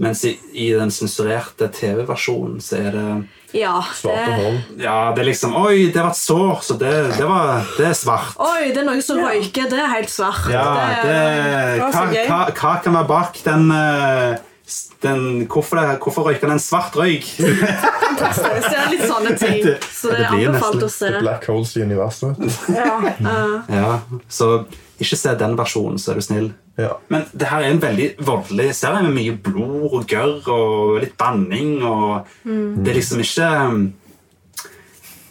S1: mens i, i den sensurerte TV-versjonen så er det
S5: Ja,
S2: Svarte
S5: det
S2: hål.
S1: Ja, det er liksom Oi, det var et sår, så det, det, var, det er svart.
S5: Oi, det er noe som røyker. Det er helt svart. det,
S1: Ja, det,
S3: var så
S1: hva,
S3: gøy.
S1: hva, hva kan være bak den, eh, s- den hvorfor, det- hvorfor røyker den svart røyk?
S5: er- så det er litt sånne ting.
S1: Det-
S5: Så det
S1: det
S5: er
S1: blir nesten
S5: anbefalt å se.
S2: The Black holes i universet. vet du.
S1: Ja, så ikke se den versjonen, så er du snill.
S2: Ja.
S1: Men det her er en veldig voldelig serie med mye blod og gørr og litt banning. Og
S5: Mm.
S1: Det er liksom ikke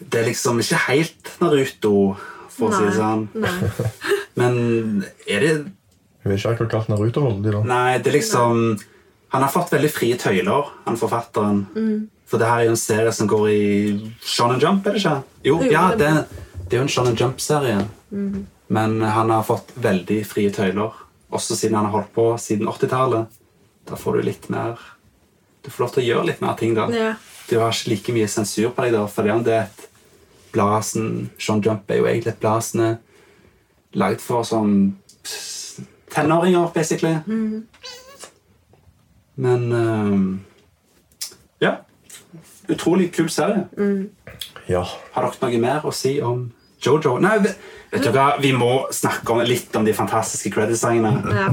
S1: Det er liksom ikke helt Naruto, for å si det sånn.
S5: Nei.
S1: Men er det
S2: Jeg vet ikke akkurat kalt Naruto-voldelig, da.
S1: Nei, det er liksom Han har fått veldig frie tøyler, han forfatteren. For det her er jo en serie som går i Shonen Jump, er det ikke? Jo, ja, det, det Mhm. er jo en Shonen Jump-serie. Men han har fått veldig frie tøyler, også siden han har holdt på siden 80-tallet. Da får du litt mer Du får lov til å gjøre litt mer ting, da.
S5: Ja.
S1: Du har ikke like mye sensur på deg, da, fordi om det er et blad som- Shonen Jump er jo egentlig et blad som er lagd for sånn pss, tenåringer, basically.
S5: Mm.
S1: Men ehm, Ja. Utrolig kul serie.
S2: Ja.
S1: Har dere noe mer å si om Jojo? Nei, vet, vet du hva? Vi må snakke om, litt om de fantastiske credit-sangene.
S5: Ja.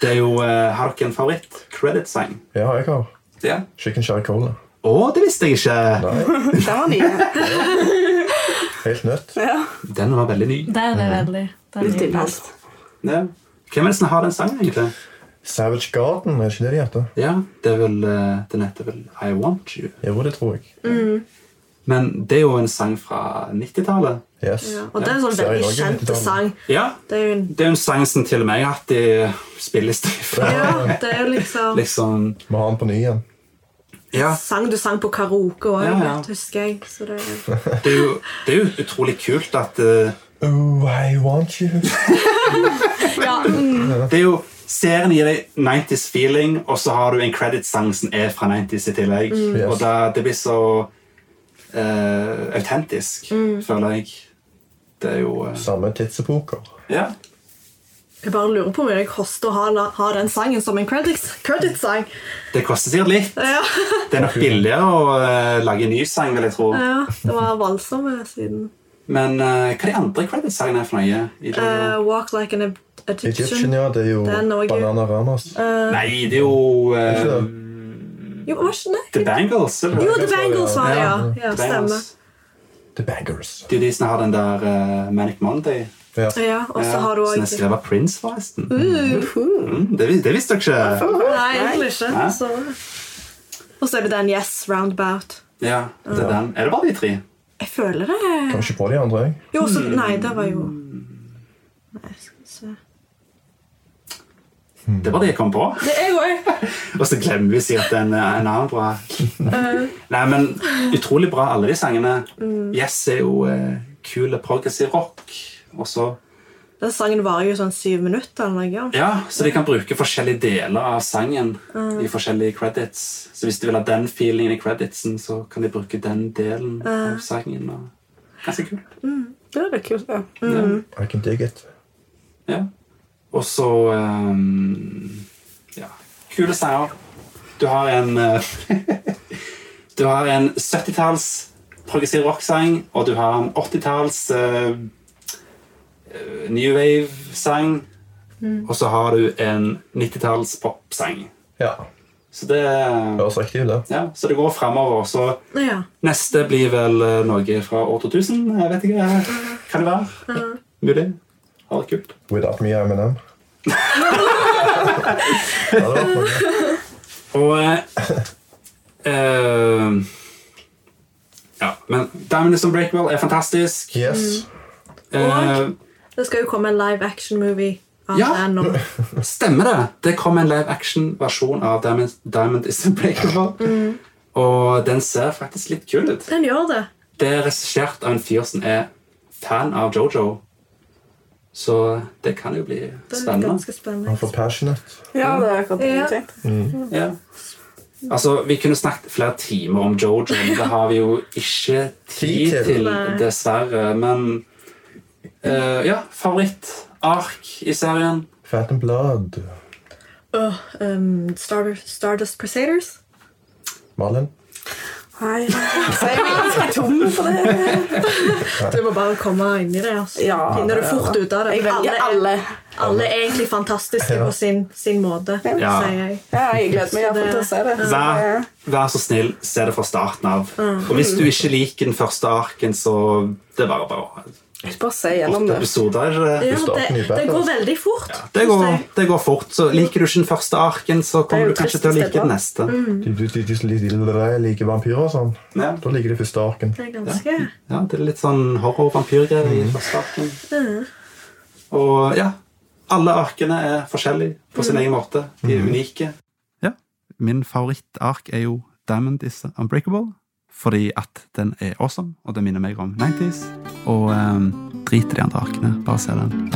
S1: Det er jo, eh, Har dere en favoritt-credit-sang?
S2: ja, jeg har
S1: Ja.
S2: chicken cherry cola.
S1: Å, det visste jeg ikke!
S3: Den var ny.
S2: Helt nødt.
S3: Ja.
S1: Den var veldig ny.
S5: Det er det veldig. Det er
S3: Litt
S5: mye.
S3: tilpasset.
S1: Ja. Hvem er det som har den sangen, egentlig?
S2: Savage Garden, er det ikke det de heter?
S1: Ja, det er vel, eh, Den heter vel I Want You.
S2: Jo, det tror jeg.
S1: Men det er jo en sang fra 90-tallet.
S2: Yes.
S4: Ja, og det er en sånn
S2: Ja, i
S4: veldig
S2: Norge,
S4: kjent
S2: 90-tallet.
S4: sang.
S1: Ja,
S4: Det er jo en
S1: det er jo en sang som til og med jeg har hatt i spillelista. fra,
S4: Ja, det er jo liksom
S1: Liksom,
S2: Vi har den på ny igjen.
S1: ja,
S4: sang du sang på karaoke òg,
S1: Ja, ja.
S4: husker jeg. Så det er
S1: det, er jo, det er jo utrolig kult at eh,
S2: Oh, I want you.
S1: Det er jo serien gir deg 90s feeling, og så har du en credit-sang som er fra 90s i tillegg.
S4: Mm.
S1: Og da, det blir så eh, autentisk,
S4: Mm.
S1: føler jeg. Det er jo eh,
S2: Samme tidsepoker.
S1: Ja.
S4: Jeg bare lurer på om det koster å ha, ha den sangen som en credits- credit-sang.
S1: Det koster sikkert litt.
S4: Ja.
S1: *laughs* Det er nok billigere å eh, lage en ny sang, vil jeg tro.
S4: ja, det var voldsomme siden.
S1: Men eh, hva er de andre credit-sangene for noe? i det?
S4: Eh, walk like an
S2: Egyptian,
S4: Egyptian.
S2: ja. Det er jo
S4: Den og jeg-
S2: Banana Ramas.
S1: Nei, det er jo eh,
S2: Ikke
S4: Jo, var ikke det?
S1: The Bangles. eller?
S4: Jo, The Bangles var det, ja. ja
S1: The
S4: stemmer.
S1: Bangles.
S2: The Bangers.
S1: Det er jo de som har den der eh, Manic Monday.
S2: Ja.
S4: Ja, og så
S1: Ja,
S4: har du Uh.
S1: Som er
S4: òg
S1: skrevet av Prince, forresten. Mm, det, vis- det visste dere ikke.
S4: Nei, egentlig ikke.
S1: Hæ?
S4: Så. Og så er det den Yes Roundabout.
S1: Ja, det er den. Er det bare de tre?
S4: Jeg føler det
S2: Kom ikke på de andre, jeg.
S4: Jo, så
S1: Mm.
S4: Nei, det var jo Nei, skal vi se
S1: Det var det jeg kom på.
S4: Det er jo jeg.
S1: Og så glemmer vi sikkert en, en annen bra.
S4: Uh.
S1: Nei, men utrolig bra, alle de sangene.
S4: Mm.
S1: Yes er jo eh, kul progressiv rock. Og så
S4: Den sangen varer jo sånn syv minutter eller noe.
S1: Ja, så de kan bruke forskjellige deler av sangen
S4: Uh.
S1: i forskjellige credits. Så hvis de vil ha den feelingen i creditsen, så kan de bruke den delen
S4: Uh.
S1: av sangen. Og... Ganske kult.
S3: Det er litt kult, ja.
S2: I can dig it.
S1: Ja. Og så ehm, Ja, kule sanger. Du har en eh, *laughs* Du har en 70-talls progressiv rocksang, og du har en 80-talls eh, eh, new wave-sang. Og så har du en 90-talls popsang.
S2: Ja.
S1: Så det eh,
S2: Høres riktig ut, det.
S1: ja, Så det går framover. Så
S4: Ja.
S1: neste blir vel eh, noe fra år 2000. Jeg vet ikke. eh, Kan det være? Mulig. Har det kult.
S2: Without me, I'm an
S4: *laughs*
S2: M. ja, det var konge.
S1: Og eh, eh, Ja, men Diamonds on Breakwell er fantastisk.
S2: Yes.
S1: Eh,
S4: Det skal jo komme en live action-movie av
S1: Ja.
S4: den nå.
S1: stemmer det! Det kom en live action-versjon av Diamond, Diamond is Unbreakable. Og den ser faktisk litt kul ut.
S4: Den gjør det.
S1: Det er regissert av en fyr som er fan av Jojo. Så det kan jo bli
S4: Det er
S1: spennende.
S4: ganske spennende.
S2: Han får passionate.
S3: Ja, det er akkurat det
S4: Ja.
S3: jeg tenkte.
S1: Ja. Altså, Vi kunne snakket flere timer om Jojo, men det har vi jo ikke tid
S2: Tid til.
S1: til,
S4: Nei.
S1: dessverre. Men eh, ja, favorittark i serien.
S2: Fat and blood.
S4: Åh, um, Star Stardust Crusaders?
S2: Malin.
S3: Nei, så jeg er ganske tom for det.
S4: Du må bare komme inn i det. altså.
S3: Ja,
S4: Finner du
S3: det er
S4: fort ut av det.
S3: Jeg velger alle.
S4: alle er egentlig fantastiske
S2: Ja.
S4: på sin, sin måte,
S1: Ja.
S4: sier jeg.
S3: Ja, jeg gleder meg i hvert fall til å se det.
S1: Vær, vær så snill, se det fra starten av. Og hvis du ikke liker den første arken, så det er bare bare
S3: Så Bare se gjennom
S1: åtte
S3: det.
S1: episoder.
S4: Ja,
S2: starten
S4: det,
S2: i
S4: det
S2: verden,
S4: går
S2: altså.
S4: veldig fort.
S1: Det går, det går fort. så Liker du ikke den første arken, så kommer
S3: jo
S1: du kanskje til å like
S3: trist
S1: den neste.
S2: De, de, de, de, de, de, de liker vampyrer og sånn.
S1: Ja.
S2: Da liker de første arken.
S4: Det er ganske... *laughs*
S1: Ja, det er litt sånn horror-vampyrgreier i første arken. Og ja, alle arkene er forskjellige på sin egen måte. De er unike. Mm. Ja, min favorittark er jo Diamond is Unbreakable, fordi at den er awesome, og det minner meg om 90s. Og eh, drit i de andre arkene, bare se den.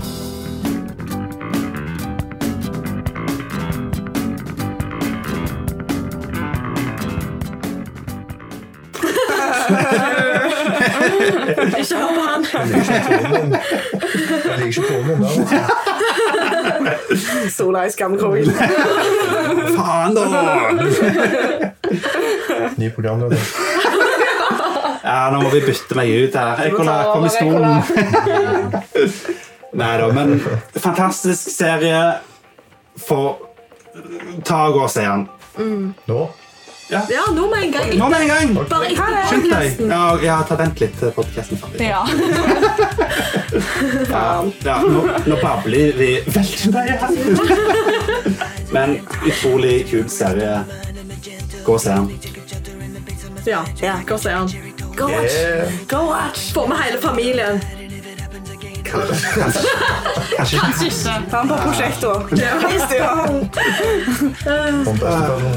S4: Ikke hør på han.
S2: Tonen. Jeg liker ikke tonen der. Altså.
S3: Sola i skamkroken.
S1: Faen, da!
S2: Ny programleder.
S1: Ja, nå må vi bytte meg ut her. Ekkola, kom i stolen. Nei da, men fantastisk serie. For ta og gå og se den.
S2: Nå?
S4: Ja, nå med en gang.
S1: Nå med en gang!
S4: Bare etter
S1: Skynd deg.
S4: podcasten.
S1: Ja, ja, ta vent litt til podkasten er ferdig.
S9: Ja.
S1: *laughs* Ja, nå, nå babler vi veldig mye her. *laughs* Men utrolig kul serie. Gå og se den.
S4: Ja, ja, hva sier han?
S10: Go watch!
S2: Yeah.
S10: Go watch!
S11: Få med hele familien.
S1: Kanskje
S3: Han på prosjektor. *laughs* Hvis du har han
S2: Om bestefaren.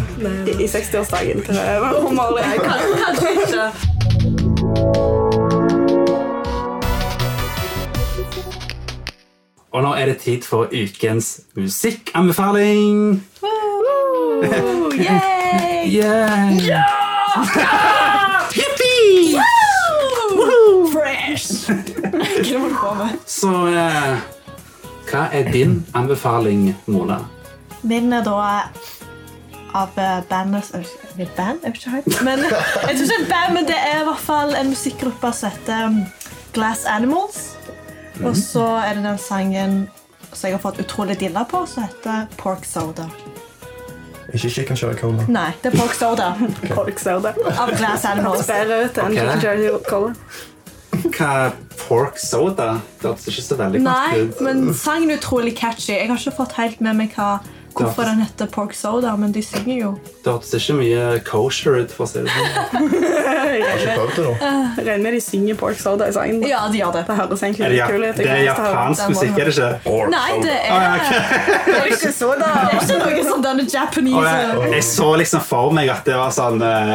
S3: i i 60-årsdagen til Amalie.
S11: Kanskje kanskje ikke.
S1: Og nå er det tid for ukens musikkanbefaling. *laughs* Yay! *laughs* Yippee! *laughs*
S3: Fresh! Hva må du på med?
S1: Så eh, hva er din anbefaling, Mona?
S4: Min er da av eh, bandet Er det band? Jeg vet ikke helt. Men, *laughs* jeg tror ikke det er et band, men det er i hvert fall en musikkgruppe som heter um, Glass Animals. Og så er det den sangen som jeg har fått utrolig dilla på, som heter Pork Soda.
S2: Ikke chicken cherry cola.
S4: Nei, det er Pork Soda
S3: Folk ser det.
S4: av Glass *laughs* Animals.
S3: Bedre ut enn
S1: Ok.
S3: Jim Jerry Collar.
S1: Hva er pork soda? Det hørtes ikke så veldig
S4: Nei,
S1: godt ut.
S4: men sangen er utrolig catchy. Jeg har ikke fått helt med meg hva, hvorfor den heter Pork Soda, men de synger jo.
S1: Det hørtes ikke mye kosher ut, for å si det sånn.
S2: Har ikke prøvd det, da.
S3: Regner med de synger Pork Soda i sangen.
S4: Ja, de gjør det.
S3: Det høres egentlig
S1: Er det,
S3: litt
S1: ja,
S3: kult ut.
S1: det er japansk musikk, er det ikke? Pork
S4: Nei, det
S1: Å,
S4: er
S1: ja, ok.
S3: Ikke soda.
S4: Det er ikke noe sånn denne
S1: Og
S4: Japanese
S1: jeg, jeg så liksom for meg at det var sånn eh,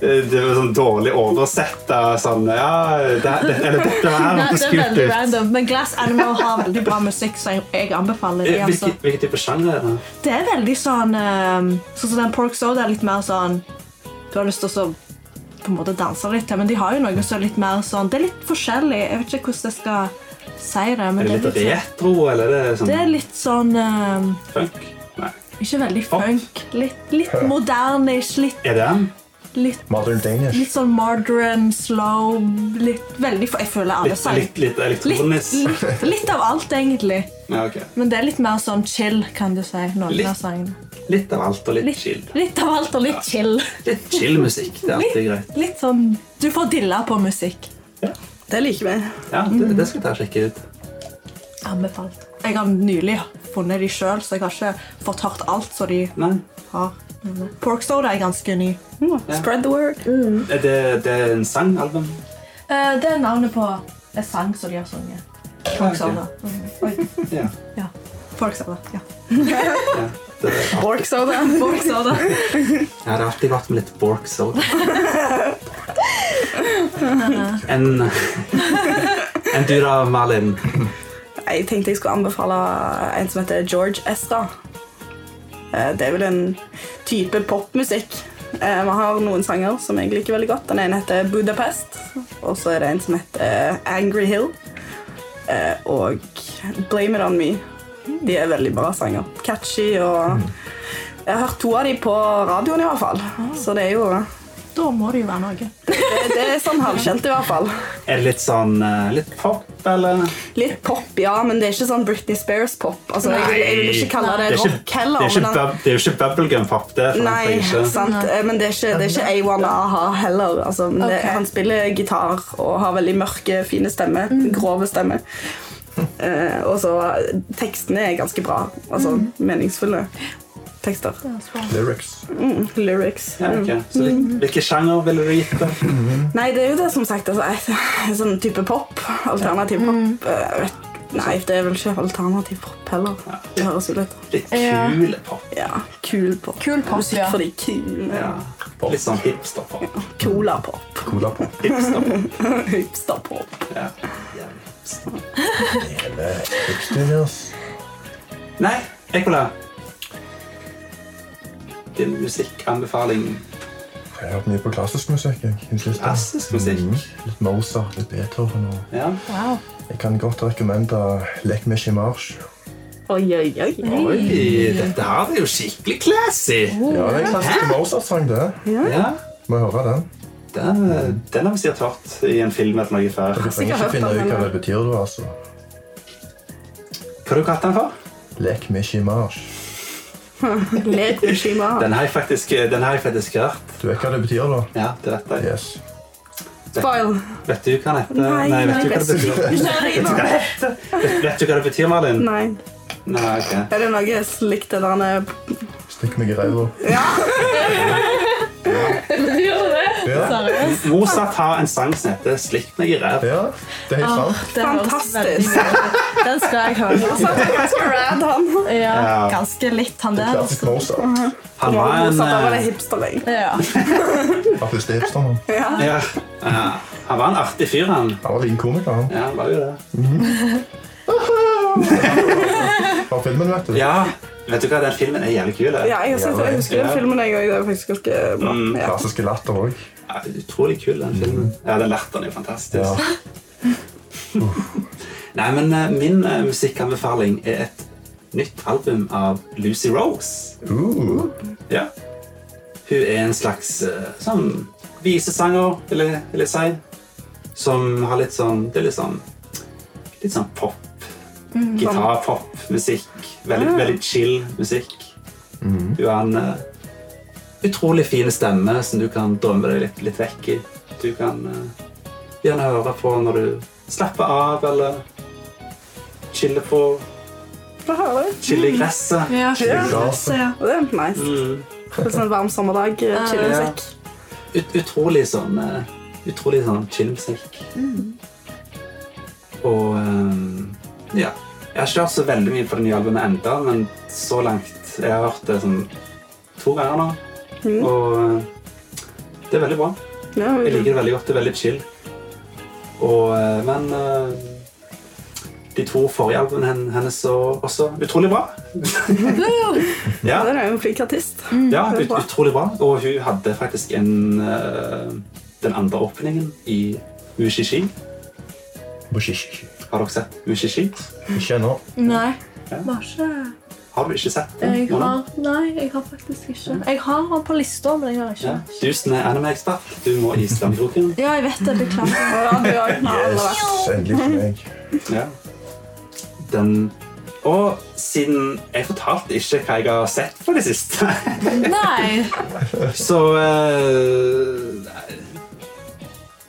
S1: Det var sånn dårlig oversett av sånn Ja, det, det, eller dette her
S4: Nei,
S1: hørtes
S4: det er
S1: kult
S4: veldig
S1: ut.
S4: random, men Glass Animal har veldig bra musikk, så jeg, jeg anbefaler det.
S1: Eh,
S4: Altså.
S1: Hvilken hvilken type sjanger er det?
S4: Det er veldig sånn um, Sånn som den Pork Soda er litt mer sånn Du har lyst til å så- på en måte danse litt til, men de har jo noe som er litt mer sånn Det er litt forskjellig. Jeg vet ikke hvordan jeg skal si det. Men
S1: Er det
S4: det,
S1: litt
S4: er litt,
S1: retro, eller er det
S4: sånn-
S1: sånn
S4: det er litt sånn um,
S1: funk? Nei.
S4: Ikke veldig
S1: Pop.
S4: funk. Litt, litt moderne, ikke litt,
S1: Er det den?
S4: litt
S2: Modern Danish.
S4: Litt sånn modern, slow litt, veldig, Jeg føler alle
S1: Litt,
S4: sanger
S1: litt, litt
S4: litt,
S1: elektronisk?
S4: litt, litt av alt, egentlig.
S1: Ja, ok.
S4: Men det er litt mer sånn chill, kan du si. Noen
S1: Litt-
S4: av sangene.
S1: Litt av alt og litt
S4: Litt,
S1: chill.
S4: litt av alt og litt chill.
S1: Litt chill musikk. Det er alltid greit.
S4: Litt sånn Du får dilla på musikk.
S3: Det liker vi.
S1: Ja, det, det skal jeg ta og sjekke ut.
S4: Anbefalt. Jeg har nylig funnet de sjøl, så jeg har ikke fått hørt alt som de
S1: Nei,
S4: har. Men eh, Pork Soda er ganske ny.
S3: Spread the word.
S1: er det, det er en sangalbum?
S4: Eh, Det er navnet på en sang som de har sunget.
S1: Ah,
S4: Pork Soda. Mhm. Oi.
S1: Ja.
S4: Ja. Pork Soda. Ja.
S1: Det, ja,
S3: Pork Soda.
S4: *laughs* Pork Soda.
S1: det har alltid vært med litt bork soda. En, en du da, Malin?
S3: Jeg tenkte jeg skulle anbefale en som heter George Esther. Eh, Det er vel en type popmusikk. Eh, Vi har noen sanger som jeg liker veldig godt. Den ene heter Budapest, og så er det en som heter Angry Hill. Eh, Og Blame It On Me. De er veldig bra sanger. Catchy og Jeg har hørt to av dem på radioen, i hvert fall. Så det er jo
S4: Da må det jo være noe.
S3: Det, det er sånn halvkjent, i hvert fall.
S1: Er det litt sånn eh, litt pop, eller?
S3: Litt pop, ja, men det er ikke sånn Britney Spears-pop. Altså, jeg, vil- jeg vil ikke kalle det,
S1: Det er
S3: rock
S1: ikke,
S3: heller.
S1: det er ikke,
S3: men han-
S1: bub- det er jo ikke bubblegum-pop. Det forventer
S3: Nei,
S1: jeg ikke.
S3: sant. Eh, Men det er ikke, det er ikke A1 A-ha heller. Altså, men det,
S4: Ok.
S3: han spiller gitar og har veldig mørke, fine stemmer. Grove stemmer. Eh, og så tekstene er ganske bra. Altså meningsfulle tekster.
S2: Lyrics.
S3: Lyrics.
S1: Ja, ok. Så
S3: Mm.
S1: litt- hvilken sjanger ville du gitt det?
S3: Nei, det er jo det som sagt. Altså, eh, *laughs* sånn type pop. Alternativ pop. eh, vet- Nei, det er vel ikke alternativ pop heller. Det høres jo litt
S1: Litt kul pop.
S3: Ja, kul pop.
S4: Kul pop,
S3: Musikk
S4: ja.
S3: for de kule.
S1: Ja. Litt sånn hipster-pop.
S3: Cola-pop. *laughs*
S2: Cola på.
S1: Hipster-pop.
S3: Hipster-pop.
S1: Ja. Jævlig hipster.
S2: Hipster, ass.
S1: Nei, Ekola. Din musikkanbefaling.
S2: Jeg har hørt mye på klassisk musikk. jeg, i det siste.
S1: Klassisk musikk?
S2: Mhm. Litt Mozart, litt Beethoven. og-
S1: Ja.
S4: Wow.
S2: Jeg kan godt rekommendere Lek med Chimarge.
S3: Oi, oi, oi.
S1: Oi, dette her er jo skikkelig classy.
S2: Ja, det er en klassisk Mozart-sang, det.
S1: Ja,
S2: Må jeg høre den?
S1: Den, den har vi sikkert hørt i en film eller noe før.
S2: Du trenger ikke finne ut hva det betyr, du, altså.
S1: Hva har du kalt den for?
S2: Lek med Chimarge.
S3: Lek med Shima.
S1: Den har jeg faktisk, den har jeg faktisk hørt.
S2: Du vet hva det betyr, da?
S1: Ja, det vet jeg.
S2: Yes.
S3: Spoil.
S1: Vet du hva den heter?
S3: Nei,
S1: Eh, vet du
S3: nei.
S1: hva det betyr? Vet du hva det heter? Vet- Vet du hva det betyr, Malin?
S3: Nei.
S1: Nei, ok.
S3: Er det noe slikt det der
S2: Stikk meg i ræva.
S3: Ja.
S2: Ja,
S12: Seriøst?
S1: Mozart har en sang som heter 'Slikk meg i ræv'.
S2: ja, det er helt sant.
S12: Det høres
S3: Fantastisk.
S12: veldig bra ut. Den skal jeg
S4: *laughs*
S12: høre.
S3: *laughs* Så han er ganske rad, han.
S12: Ja,
S1: Ja.
S12: ganske litt han der.
S2: Klassisk Mozart.
S1: Han var en,
S3: Mozart var det
S1: eh,
S3: hipster jeg.
S12: Ja.
S2: Av første hipsteren. han.
S3: Ja.
S1: ja, eh, han var en artig fyr, han.
S2: Han var liten komiker, han.
S1: Ja, han var jo det.
S2: Fra filmen, vet du.
S1: Ja, vet du hva, den filmen er jævlig kul.
S3: Ja, jeg, synes, jeg husker den filmen jeg òg. Det er faktisk ganske bra.
S1: Mm.
S3: Ja.
S2: Klassiske latter òg.
S1: Ja, utrolig kul, den filmen. Ja, den latteren er jo fantastisk.
S2: Ja.
S1: *laughs* Nei, men eh, min eh, musikkanbefaling er et nytt album av Lucy Rose.
S2: Uh,
S1: Ja. Hun er en slags eh, sånn visesanger, vil jeg, vil jeg si. Som har litt sånn Det er litt sånn, litt sånn pop. Gitar, pop, musikk. Veldig, veldig chill musikk. Hun har en eh, utrolig fin stemme som du kan drømme deg litt, litt vekk i. Du kan eh, gjerne høre på når du slapper av eller chiller på
S3: Få høre.
S1: Chiller i gresset.
S5: Ja,
S2: Glasset.
S5: ja.
S3: Det er nice.
S1: Mm.
S3: Det er sånn varm sommerdag, chillemusikk.
S1: ut, utrolig sånn eh, Utrolig sånn chill-musikk. Og eh, ja. Jeg har ikke hørt så veldig mye på det nye albumet enda, men så langt Jeg har hørt det sånn to ganger nå,
S3: Mm.
S1: og eh, det er veldig bra.
S3: Ja,
S1: Jeg
S3: vi-
S1: liker det veldig godt. Det er veldig chill. Og, eh, men eh, de to forrige albumene hen- hennes er også utrolig
S3: *laughs*
S1: bra. ja,
S3: ja, det er jo en flink artist.
S1: ja,
S3: det er
S1: ut,
S3: bra.
S1: utrolig bra. Og hun hadde faktisk en, eh, den andre åpningen i Ushishi.
S2: Boshish.
S1: Har dere sett Ushishi?
S2: Ikke ennå.
S5: Nei.
S1: Ja.
S5: Var ikke
S1: Har du ikke sett den?
S5: Jeg
S1: Mona?
S5: har Nei, jeg har faktisk ikke. Jeg har han på lista, men jeg har ikke.
S1: Ja. Du som er anime-ekspert, du må i slamkroken.
S5: Ja, jeg vet det.
S4: *laughs*
S5: Beklager.
S3: Ja, du òg.
S2: Yes, endelig for meg.
S1: Ja. Den Og siden jeg fortalte ikke hva jeg har sett på det siste,
S5: Nei.
S1: så eh, nei.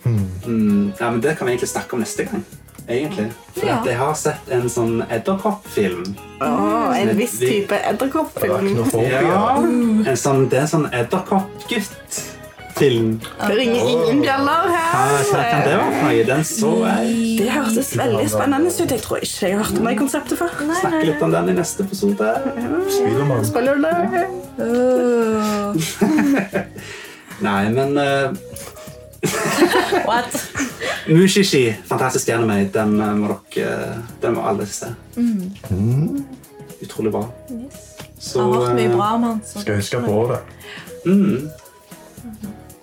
S1: Mm, ja, men Det kan vi egentlig snakke om neste gang. Egentlig. For
S5: Ja.
S1: at jeg har sett en sånn edderkoppfilm.
S3: Å, en viss type edderkoppfilm.
S1: Ja.
S2: Arachnophobia.
S12: Uh.
S1: En sånn, det er en sånn edderkoppgutt-film. Ah,
S3: Det ringer ingen bjeller
S1: Hva hva kan
S3: her.
S1: det være for noe? Den så jeg.
S3: Det hørtes veldig spennende ut. Jeg tror ikke jeg har hørt om det konseptet før.
S1: Snakke litt om den i neste episode.
S2: Spiderman.
S3: Spiller du det?
S5: Uh.
S1: Nei, men eh,
S12: What?
S1: Mushishi, fantastisk anime, den eh, må dere eh, Den må alle se. Utrolig bra. Så,
S12: Jeg har hørt mye
S1: eh,
S12: bra om Mm. han. Så.
S2: Skal jeg huske på det.
S1: mm.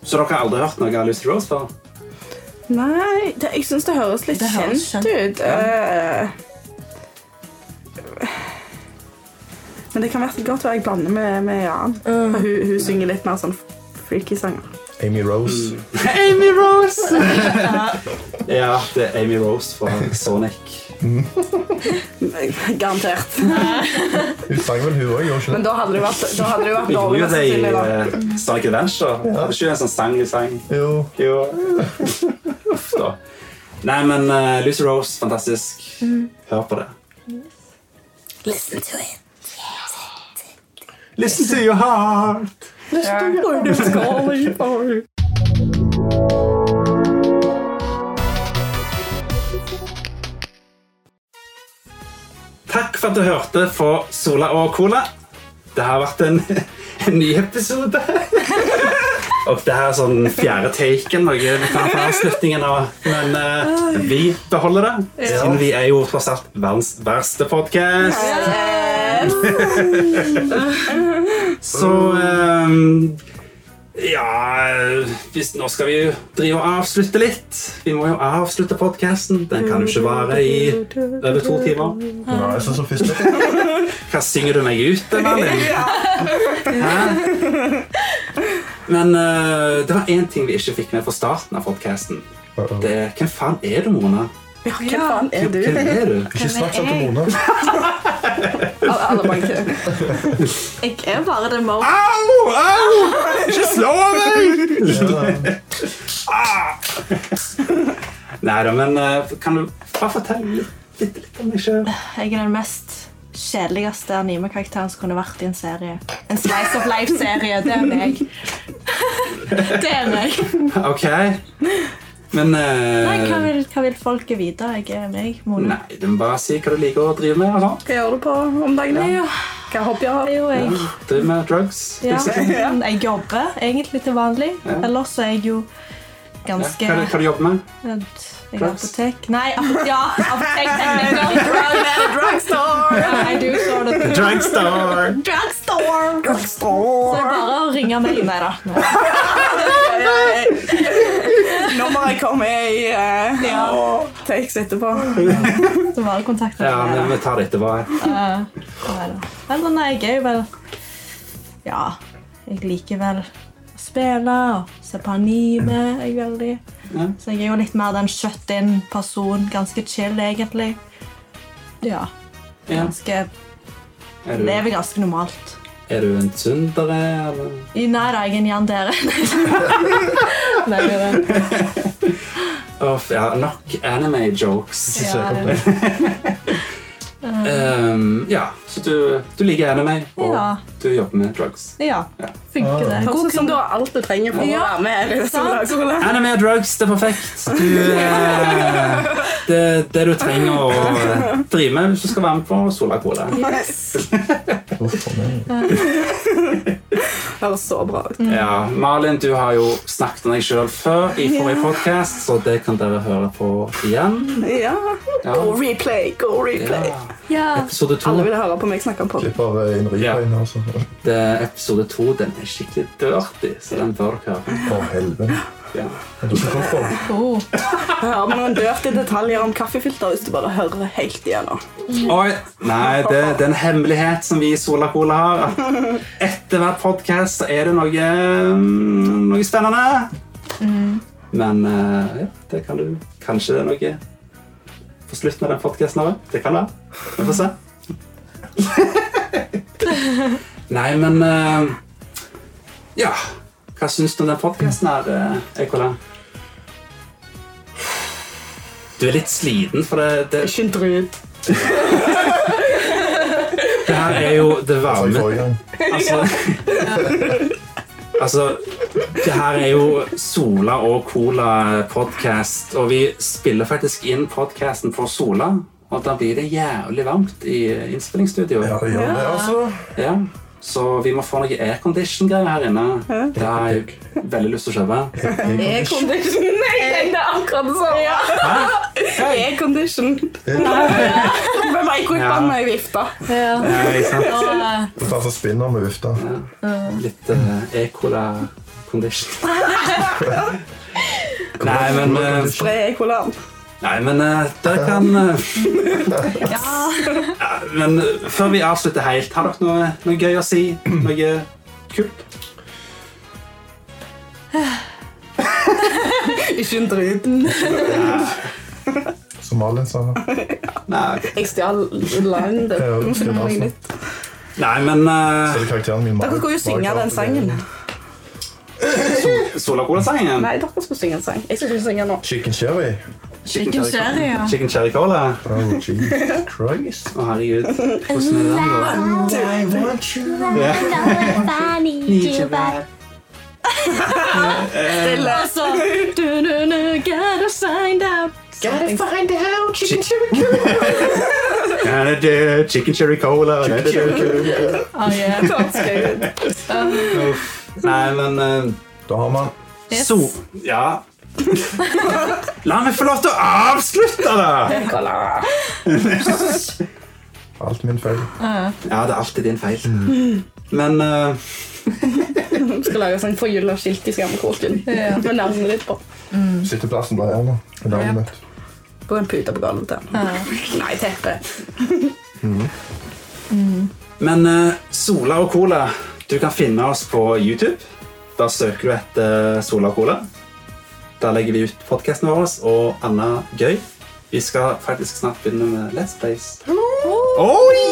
S1: så dere har aldri hørt noe av Lucy Rose før?
S3: Nei, det, jeg syns det høres litt
S12: Det høres
S3: kjent, ut. Eh, men det kan være godt være jeg blander med, med Jan. For Hun, hun synger litt mer sånn freaky sanger.
S2: Amy
S1: Mm.
S2: Rose.
S1: Amy Rose! ja, det er Amy Rose fra Sonic.
S3: *laughs* Garantert.
S2: Hun sang vel hun òg, gjorde hun ikke
S3: Men
S2: det?
S3: da hadde det vært, da hadde det vært
S1: Vi gjorde
S3: dårlig.
S1: jo
S3: mest
S1: det i
S3: sannsynlig, da.
S1: eh, Sonic Adventure. Hadde ikke en sånn sang i sang?
S2: Jo.
S1: Jo. Uff, da. Nei, men eh, Lucy Rose, fantastisk. Hør på det. Listen to it. Listen to your heart. Takk for at du hørte på Sola og Cola. Det har vært en, en ny episode. Og det her er sånn fjerde taken, noe vi kan ta avslutningen av. Men eh, vi beholder det, siden vi er jo tross alt verdens verste podkast. Så eh, Ja hvis, Nå skal vi jo drive og avslutte litt. Vi må jo avslutte podkasten. Den kan jo ikke vare i over to timer.
S2: Nei, jeg synes det første.
S1: Hva synger du meg ut, den Malin? Hæ? Men eh, det var én ting vi ikke fikk med fra starten av podcasten.
S2: Uh-oh.
S1: Det er, Hvem faen er du, Mona?
S3: Ja, hvem faen er du?
S1: Hvem er du?
S2: Ikke snakk sånn til Mona.
S3: Alle, alle banker.
S5: Jeg er bare det Mo.
S1: Au! Au! Ikke slå meg!
S2: Ja.
S1: Nei da, men eh, kan du bare fortelle litt, litt, litt om deg sjøl?
S12: Jeg er den mest kjedeligste anime-karakteren som kunne vært i en serie. En Slice of Life-serie. Det er meg.
S4: *laughs* Det er meg.
S1: OK. Men eh,
S4: Nei, hva vil, hva vil folket vite? Jeg er meg, Mona.
S1: Nei, du må bare si hva du liker å drive med. og sånn.
S3: Hva gjør du på om dagen?
S4: Nei,
S3: da?
S4: jo,
S3: Hva hobby har
S4: det er
S3: du?
S4: jo jeg.
S1: Driver med drugs.
S4: Ja.
S1: basically.
S4: Men Jeg jobber egentlig til vanlig.
S1: Ja.
S4: Ellers er jeg jo
S1: Ja.
S4: ganske
S1: Hva er det- hva er det du jobber med?
S4: Vent, Jeg er
S1: Drugs?
S4: apotek... Nei, ap ja,
S1: *laughs*
S4: apotektekniker.
S3: Drugstore!
S4: I do sort of
S1: Drugstore!
S4: drugstore. Så det er bare å ringe meg. Nei da. Nei.
S3: Nummeret kommer i eh, takes etterpå.
S4: Så bare kontakt med
S1: *laughs* Ja,
S4: meg.
S1: men vi tar det etterpå.
S4: Eller nei, jeg er jo vel Ja, jeg liker vel å spille og se på anime. Jeg er veldig.
S1: Ja.
S4: Så jeg er jo litt mer den shut-in-personen. Ganske chill, egentlig. Ja.
S1: Ja.
S4: Ganske,
S1: Er, du,
S4: lever ganske normalt.
S1: er du en tsundere, eller?
S4: I nei da, jeg er en jan dere. nei, det er det.
S1: Uff, ja, nok anime-jokes.
S4: Ja, det er det.
S1: Ehm, ja, så du, du liker anime, og
S4: Ja.
S1: du jobber med drugs.
S4: Ja, funker det.
S3: Høres ut som du har alt du trenger for å være med. i disse
S4: Sant.
S3: dagene.
S1: Anime og drugs, det er perfekt. Du,
S4: *laughs*
S1: eh, det, det du trenger å eh, drive med hvis du skal være med på Sola Cola.
S2: Uff, for meg.
S3: Høres så bra
S2: Mm.
S3: ut.
S1: Ja, Malin, du har jo snakket om deg sjøl før i forrige podkast, så det kan dere høre på igjen.
S3: Ja.
S1: Ja.
S3: Go replay, go
S1: Ja.
S3: replay.
S4: Ja.
S1: Episode to.
S3: Alle vil høre på meg snakke om podkast.
S2: Klipper eh, inn replayen, altså.
S1: Det er episode to den er skikkelig dirty, så den bør dere høre.
S2: Å, helvete.
S1: Ja.
S2: Er du hvorfor?
S4: Oh.
S3: Hør med noen dirty detaljer om kaffefilter hvis du bare hører helt igjennom.
S1: Oi, nei, det, det er en hemmelighet som vi i Sola Cola har. at Etter hver podkast er det noe, mm, noe spennende. Men eh, ja, det kan du Kanskje det er noe på slutten av den podkasten òg. Det kan være. Vi får se. nei, men eh, Ja. Hva syns du om den podkasten her, eh, Ekola? Du er litt sliten, for det, det,
S3: Ikke en drut.
S1: Det her er jo det
S2: Altså, i
S1: varme
S2: forrige gang.
S1: Altså, altså Det her er jo Sola og Cola podcast, og vi spiller faktisk inn podcasten for Sola. Og da blir det jævlig varmt i innspillingsstudioet.
S2: Ja,
S1: Ja.
S2: det gjør det, altså.
S1: Så vi må få noe aircondition-greier her inne. Det har jeg veldig lyst til å kjøpe.
S3: E-condition. *laughs* Nei, jeg tenkte akkurat det samme. E-condition. Med mikrofonene i vifta.
S4: Ja.
S1: Ja, ikke sant?
S4: Og, eh,
S2: Du tar så spinner med vifta.
S1: Litt eh, *laughs* e-cola-condition. Nei, men eh,
S3: Spre e-colaen.
S1: Nei, men eh, dere kan eh, ja, Men eh, før vi avslutter helt, har dere noe, noe gøy å si? Noe kult?
S3: Ikke en drut.
S2: Som Malin sa.
S1: Nei,
S3: Jeg stjal linen.
S2: Det er altså. jo
S3: Dere
S2: Stina
S3: meg
S2: Larsen.
S3: litt.
S1: Nei men
S2: Så
S1: uh,
S2: er det karakteren min Malin.
S3: skulle jo synge den sangen.
S1: Solacola-sangen?
S3: Nei, dere skulle synge en sang. Jeg skal ikke synge nå.
S2: Chicken Cherry.
S4: Chicken cherry, ja.
S1: Chicken cherry cola?
S2: Oh, Jesus Christ.
S1: Å, herregud. Hvordan er den, da?
S2: I want you.
S4: Altså, du, du, du, get a signed up.
S1: Can I do Chicken cherry cola. Can I do- *laughs*
S4: Oh, yeah. Uh,
S1: Nei, men eh,
S2: Da har man
S4: Yes.
S1: so, Ja. La meg få lov til å avslutte, da!
S2: alt min feil.
S1: Ja, det er alltid din feil. Men eh,
S3: Vi skal lage en sang for jul og skilt i skammekroken.
S4: Ja.
S3: Med navnet ditt på.
S2: Sitteplassen ble gjerne. Det er navnet mitt.
S3: På en pute på gulvet til henne. Nei, teppe.
S1: Men eh, Sola og Cola, du kan finne oss på YouTube. Da søker du etter eh, Sola og Cola. Der legger vi ut podkasten vår og annet gøy. Vi skal faktisk snart begynne med Let's Plays. Oi!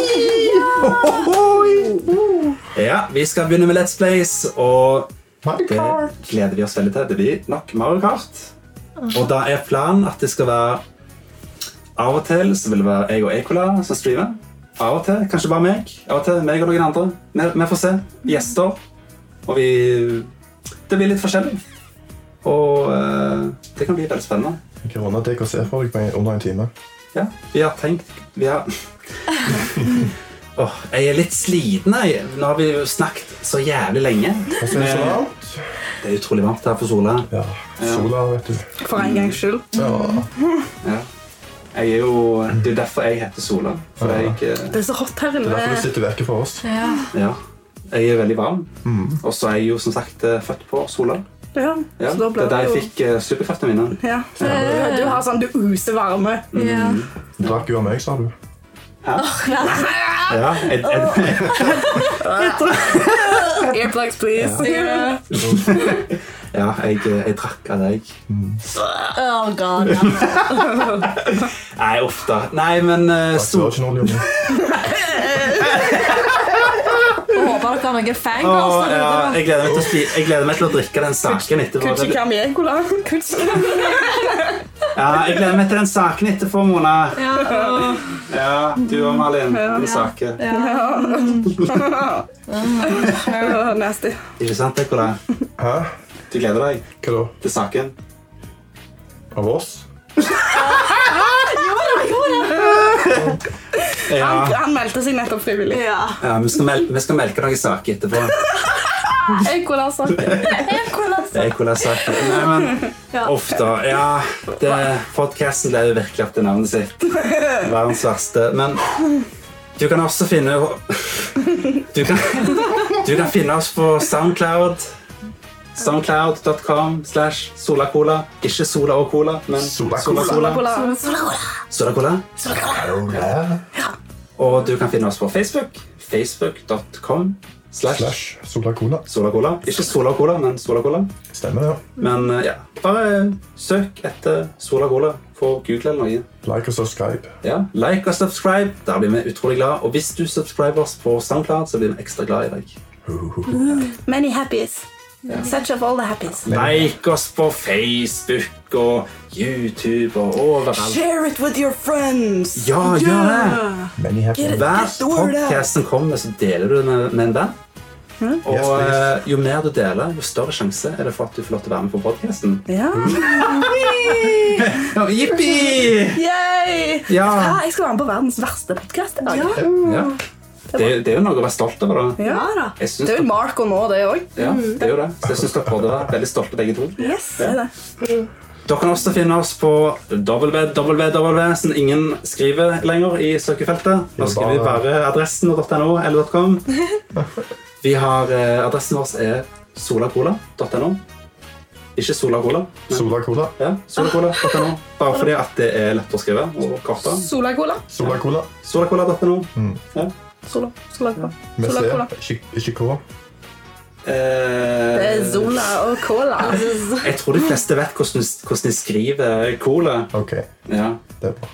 S1: Ohoi! Ja, vi skal begynne med Let's Plays, og det gleder vi oss veldig til. Det blir nok Mario Kart. Og da er planen at det skal være Av og til så vil det være jeg og Ekola som streamer. Av og til kanskje bare meg. Av og til meg og noen andre. Vi, vi får se. Gjester. Og vi det blir litt forskjellig. Og eh, det kan bli veldig spennende.
S2: Jeg kan runde deg og se for deg på en- under en time.
S1: Ja, vi har tenkt Vi har *laughs* Åh, Jeg er litt sliten. Jeg. Nå har vi jo snakket så jævlig lenge.
S2: Og så er det så varmt.
S1: Det er utrolig varmt her på Sola.
S2: Ja, sola, vet du.
S3: For en gangs skyld.
S2: Ja,
S1: Ja. Jeg er jo, det er jo derfor jeg heter Sola. For jeg, eh,
S3: Det er så hot her
S2: det er derfor du
S3: inne.
S2: sitter vekke fra oss.
S1: ja, jeg er veldig varm. Og så er jeg jo som sagt eh, født på Sola.
S3: Ja,
S1: Ja,
S3: så da
S1: det
S3: ble
S1: er der jeg
S3: jo
S1: fikk eh, superkreftene mine.
S3: ja. Så
S4: uh,
S3: Du har sånn du oser varme.
S1: Mm.
S2: Du drakk jo av meg, sa du.
S1: Ja, *laughs* jeg, jeg,
S3: Earplugs, please.
S1: ja, jeg, eh, jeg drakk av deg.
S12: Oh god.
S1: Nei, uff da. Nei, men eh,
S2: Drakk du
S1: Sol-
S2: original, Jonny?
S5: Jeg håper dere har noen fangirls
S4: altså,
S1: Åh,
S5: der
S1: ja,
S5: ute. da.
S1: jeg, gleder meg til å, spi- jeg gleder meg til å drikke den saken etterpå.
S3: Kuchi Kamiekola.
S1: Ja, jeg gleder meg til den saken etterpå, Mona. Ja, du og Malin. Den saken.
S3: Nasty.
S1: Ikke sant, Ekola?
S2: Hæ?
S1: Du gleder deg
S2: Hva da?
S1: til saken?
S2: Av oss?
S3: Han,
S1: Ja,
S3: han meldte seg nettopp frivillig.
S1: ja vi, skal mel vi skal melke noen saker etterpå.
S3: Ekola-saken.
S1: Det er Ekola saken. Nei, men ofte. Ja, det, podcasten gleder virkelig opp til navnet sitt. Verdens verste. Men du kan også finne Du kan, du kan finne oss på Soundcloud. Soundcloud.com slash solacola. Ikke Sola og Cola, men
S2: Sola Cola.
S1: Sola-Cola. Sola-Cola.
S2: Ja.
S1: Og du kan finne oss på Facebook. Facebook.com slash
S2: Slash Sola Cola.
S1: Sola-Cola. Ikke Sola og Cola, men Sola-Cola.
S2: Stemmer det.
S1: Men eh, ja, bare søk etter Sola Cola på Google eller noe.
S2: Like og subscribe.
S1: Ja, like og subscribe. Der blir vi utrolig glad. Og hvis du subscriber oss på SoundCloud, så blir vi ekstra glad i deg.
S3: Many happies. Such of all the happies.
S1: Like oss på Facebook og YouTube og overalt.
S3: Share it with your friends.
S1: Ja, gjør det!
S2: Many happy.
S1: Hver podcast som kommer, så deler du med, med en venn. Og
S2: Yes, please.
S1: eh, jo mer du deler, jo større sjanse er det for at du får lov til å være med på podkasten.
S3: Ja.
S1: Jippi!
S3: Yay!
S1: Ja.
S3: Ah, jeg skal være med på verdens verste podkast.
S1: ja. Det, er- det er jo noe å være stolt over, da.
S3: Uh. Ja.
S5: Ja da.
S1: Jeg syns
S3: Det er jo Marco nå, det òg.
S1: Ja, det er jo det. Så jeg synes dere burde være veldig stolte begge to.
S3: Yes, det er det.
S1: Dere kan også finne oss på www, som ingen skriver lenger i søkefeltet. Nå skriver vi bare adressen og .no eller .com. Vi har, eh, adressen vår er solacola.no. Ikke solacola. men-
S2: Sola Cola.
S1: Ja, solacola.no. Bare fordi at det er lett å skrive og kortere.
S3: Solacola.
S2: Sola Cola.
S1: Solacola.no. Ja.
S3: Sola. Solacola.
S2: Med
S3: Sola
S2: C,
S3: Cola.
S2: ikke- ikke K.
S3: Det er
S1: Eh,
S3: Zola og Cola.
S1: jeg tror de fleste vet hvordan, hvordan de skriver cola.
S2: Ok,
S1: Ja.
S2: det er bra.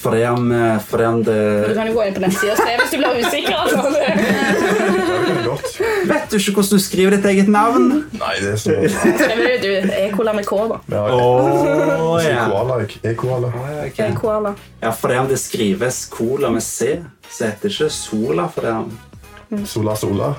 S1: Fordi om, eh, fordi om
S3: Du
S1: det
S3: kan jo gå inn på nettsida og se hvis du blir usikker. *laughs* altså.
S2: Det er jo godt.
S1: Vet du ikke hvordan du skriver ditt eget navn?
S2: Nei, det er sånn.
S3: Skriver du E-cola med K, da?
S2: Ja,
S1: *laughs* Oh,
S2: jeg- koala, jeg. Jeg koala.
S3: E-cola.
S1: Ja, fordi om det skrives cola med C, så heter det ikke Sola for det. om-
S2: Sola, sola.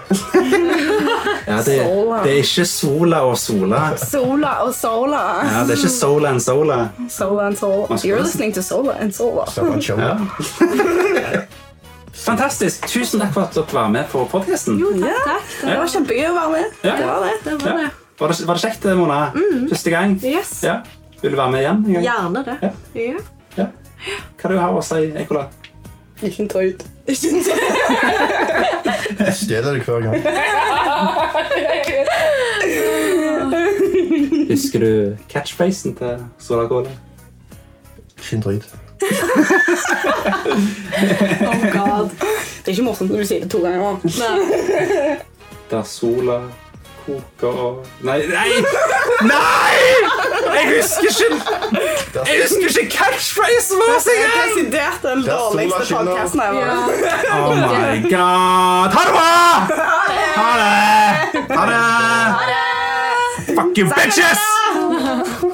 S1: Ja, det,
S3: Sola.
S1: det er ikke Sola og Sola.
S3: Sola og Sola.
S1: Ja, det er ikke Sola and Sola.
S3: Sola and Sola. You're listening to Sola and Sola.
S2: Stemmer, kjønn.
S1: Ja. *laughs* Fantastisk. Tusen takk for at dere var med på podkasten.
S3: Ja, det var kjempegøy å være med.
S1: Ja.
S3: Det Mm. var det.
S1: Ja. Var, det- var det kjekt, Mona? Første gang?
S5: Yes.
S1: Ja. Vil du være med igjen? en gang?
S5: Gjerne det.
S1: Ja.
S5: Ja.
S1: Ja. Hva har du her å si,
S3: *laughs*
S1: Ekola?
S3: Ikke ta ut.
S2: Jeg stjeler det hver gang.
S1: Husker du catchphrasen til Sola Cola?
S2: Ikke en drit.
S5: Oh god.
S3: Det er ikke morsomt når du sier det to ganger. også.
S1: Der sola koker og Nei! Nei! nei! Jeg husker ikke Jeg husker ikke catchphrasen vår engang!
S3: Desidert den
S2: er Sola
S3: dårligste
S2: skinner.
S3: podkasten ever.
S1: Oh my god! Ha det bra! Ha det! Ha det! Fuck you, bitches!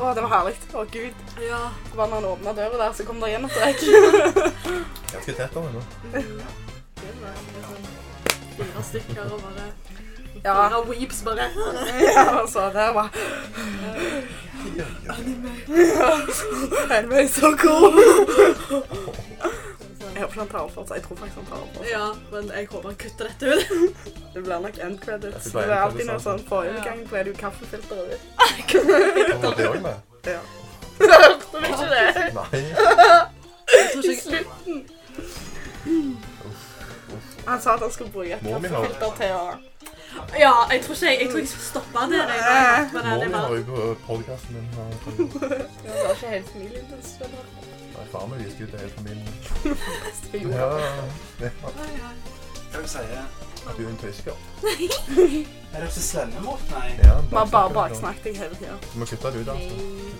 S3: Å, det var herlig. Å, gud.
S13: Ja.
S3: Det var når han åpna døra der, så kom det igjen et
S13: *laughs*
S3: trekk.
S2: Ganske tett over nå.
S13: Det var liksom fire stykker og bare
S3: ja,
S13: Fire weeps, bare.
S3: ja, så det var Anime så
S13: *laughs*
S3: cool. Jeg håper ikke han tar opp for seg. Jeg tror faktisk han tar opp for seg.
S13: Ja, men jeg håper han kutter dette ut.
S3: *laughs* Det blir nok end credits.
S2: Det
S3: Det
S2: blir
S3: er
S2: end
S3: alltid noe
S2: credits, altså.
S3: sånn forrige gang ble det jo kaffefilter over.
S2: Kommer det også med? *laughs*
S3: Ja.
S2: Hørte du ikke det? Nei.
S13: Jeg tror ikke jeg...
S3: Han sa at han skulle bruke et
S2: Må vi ha-
S3: kaffefilter til å
S13: Ja, jeg tror ikke jeg, jeg, tror jeg skal stoppe der. Jeg, men
S2: Må
S13: det
S2: vi
S13: er bare...
S2: ha jo på podcasten eh, min her.
S3: Det var ikke helt familien din, skjønner du.
S2: Nei, far min visker ut til hele familien.
S3: *laughs* Det gjorde
S2: Ja, ja.
S1: Hva vil du si? eh, Er
S2: Du er en tysker.
S1: dere så slemme mot meg?
S2: Ja,
S3: Vi har bare
S2: baksnakker du nå.
S3: baksnakket deg hele tida.
S2: Du må kutte det ut, altså.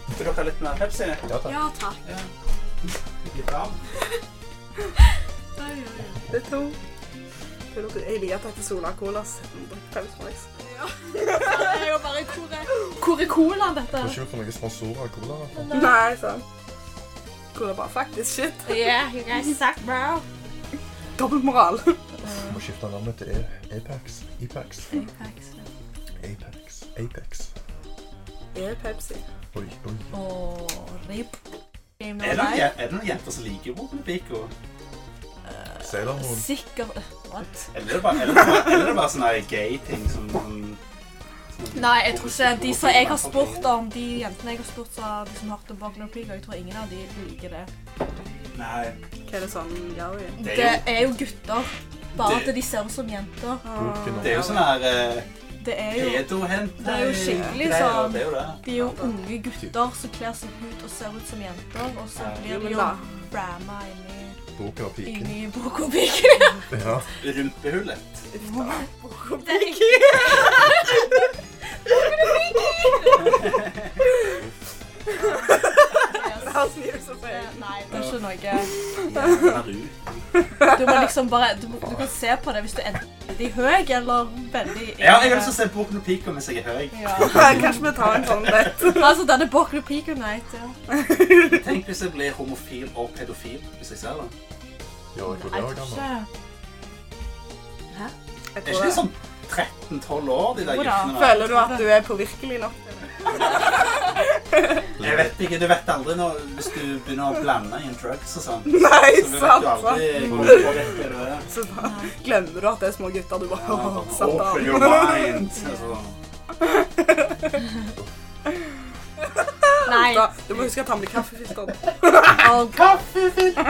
S1: Vil dere ha litt mer Pepsi?
S2: Ja, takk.
S13: Ja, takk.
S1: Litt varm?
S13: Ja, ja, ja.
S3: Det er to. Jeg liker at dette er Sola Cola. så jeg drikker Pepsi Max.
S13: Det er jo bare hvor er, hvor er colaen, dette?
S2: Tror ikke vi får noen sponsorer av cola. i hvert fall.
S3: Nei, sant. Cola bare faktisk shit.
S13: Yeah, yes.
S4: Exact, bro.
S3: Dobbeltmoral.
S2: Vi må skifte navnet til E- Apex. Apex. Apex. Apex.
S3: Er Pepsi.
S2: Oi, oi.
S4: Og rib. Game
S1: Er det
S4: of
S1: noen,
S4: life.
S1: je- er det noen jenter som liker Wooden Pico?
S2: Sailor Moon.
S4: Sikker... What?
S1: Eller er det bare, eller er det bare, eller er det bare sånne gay-ting som som-
S4: Nei, jeg tror ikke de som jeg har spurt om, de jentene jeg har spurt, så de som hørte Bogner Pig, jeg tror ingen av de liker det.
S1: Nei,
S3: Hva er det sånn yaoi?
S1: det
S4: Det
S1: er jo,
S4: er jo gutter. Bare
S1: Det-
S4: at de ser ut som jenter.
S2: Broken
S1: det er jo sånn her eh,
S4: Det er jo
S1: pedo-hent.
S4: Det er jo skikkelig
S1: greier,
S4: sånn.
S1: Det er jo det.
S4: De er jo unge gutter som kler seg ut og ser ut som jenter, og så blir de jo bramma inni,
S2: Boka og piken.
S4: inni *laughs* Bokopiken.
S2: Ja.
S1: Rumpehullet.
S3: Han snur seg på øynene.
S4: Nei, det er ikke noe
S1: Jævla ru.
S4: Du må liksom bare Du, må, du kan se på det hvis du er veldig høy eller veldig
S1: Ja, jeg har lyst til å se Boken og Pico mens jeg er høy.
S4: ja.
S3: Kanskje vi tar en sånn date.
S4: Altså, denne Bokner Pig Night, ja.
S1: Tenk hvis jeg blir homofil og pedofil hvis jeg ser det.
S2: Ja, jeg tror det
S4: Jeg
S2: var
S4: tror
S2: gammel.
S4: ikke
S3: Jeg
S1: Er ikke sånn-
S3: tror
S1: de
S3: det.
S1: sånn 13-12 år, de der
S4: Jo da.
S1: guttene der?
S3: Føler du at du er påvirkelig nå?
S1: *laughs* Jeg vet ikke, du vet aldri når, hvis du begynner å blande inn drugs og sånn.
S3: Nei,
S1: Så vet
S3: sant,
S1: du
S3: sant.
S1: aldri hvor du påvirker det. er.
S3: Så da glemmer du at det er små gutter du bare
S1: Ja,
S3: har satt
S1: Open your
S3: av.
S1: mind. Altså.
S4: Nei.
S3: Da, du må huske at han blir kaffefilter. Du kommer aldri til å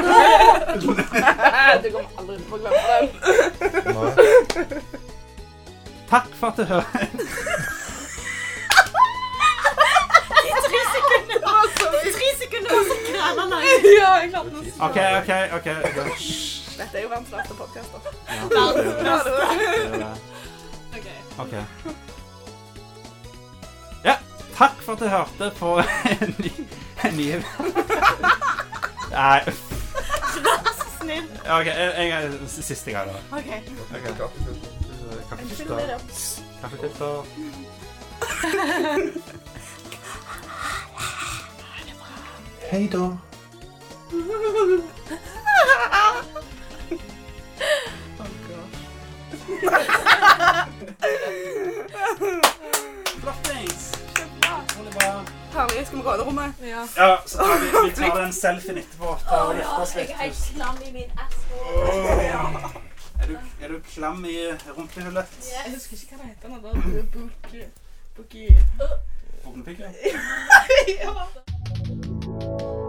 S3: glemme det.
S2: Nei.
S1: Takk for at du hører.
S4: Tre sekunder var så græna lang.
S3: Ja, jeg klarte det.
S1: OK, OK. ok.
S3: Dette er jo verdens verste podkast.
S1: OK. Ja, takk for at du hørte på *laughs* en ny, en ny. Nei.
S4: snill.
S1: OK, en, en gang, siste gang, da.
S4: OK.
S1: Kaffekutta. Kaffekutta.
S2: Hei da.
S1: Flottings. Utrolig bra.
S3: Herlig. Skal vi råde rommet?
S4: Ja.
S1: Ja, så tar vi, vi tar den selfien etterpå. Ta og gifte oss litt.
S4: klam i min ass.
S1: Er du, er du klam i rumpehullet?
S3: Jeg husker ikke hva det heter. nå, da. Buki- Buki
S1: Åpne pikken?
S3: Ja.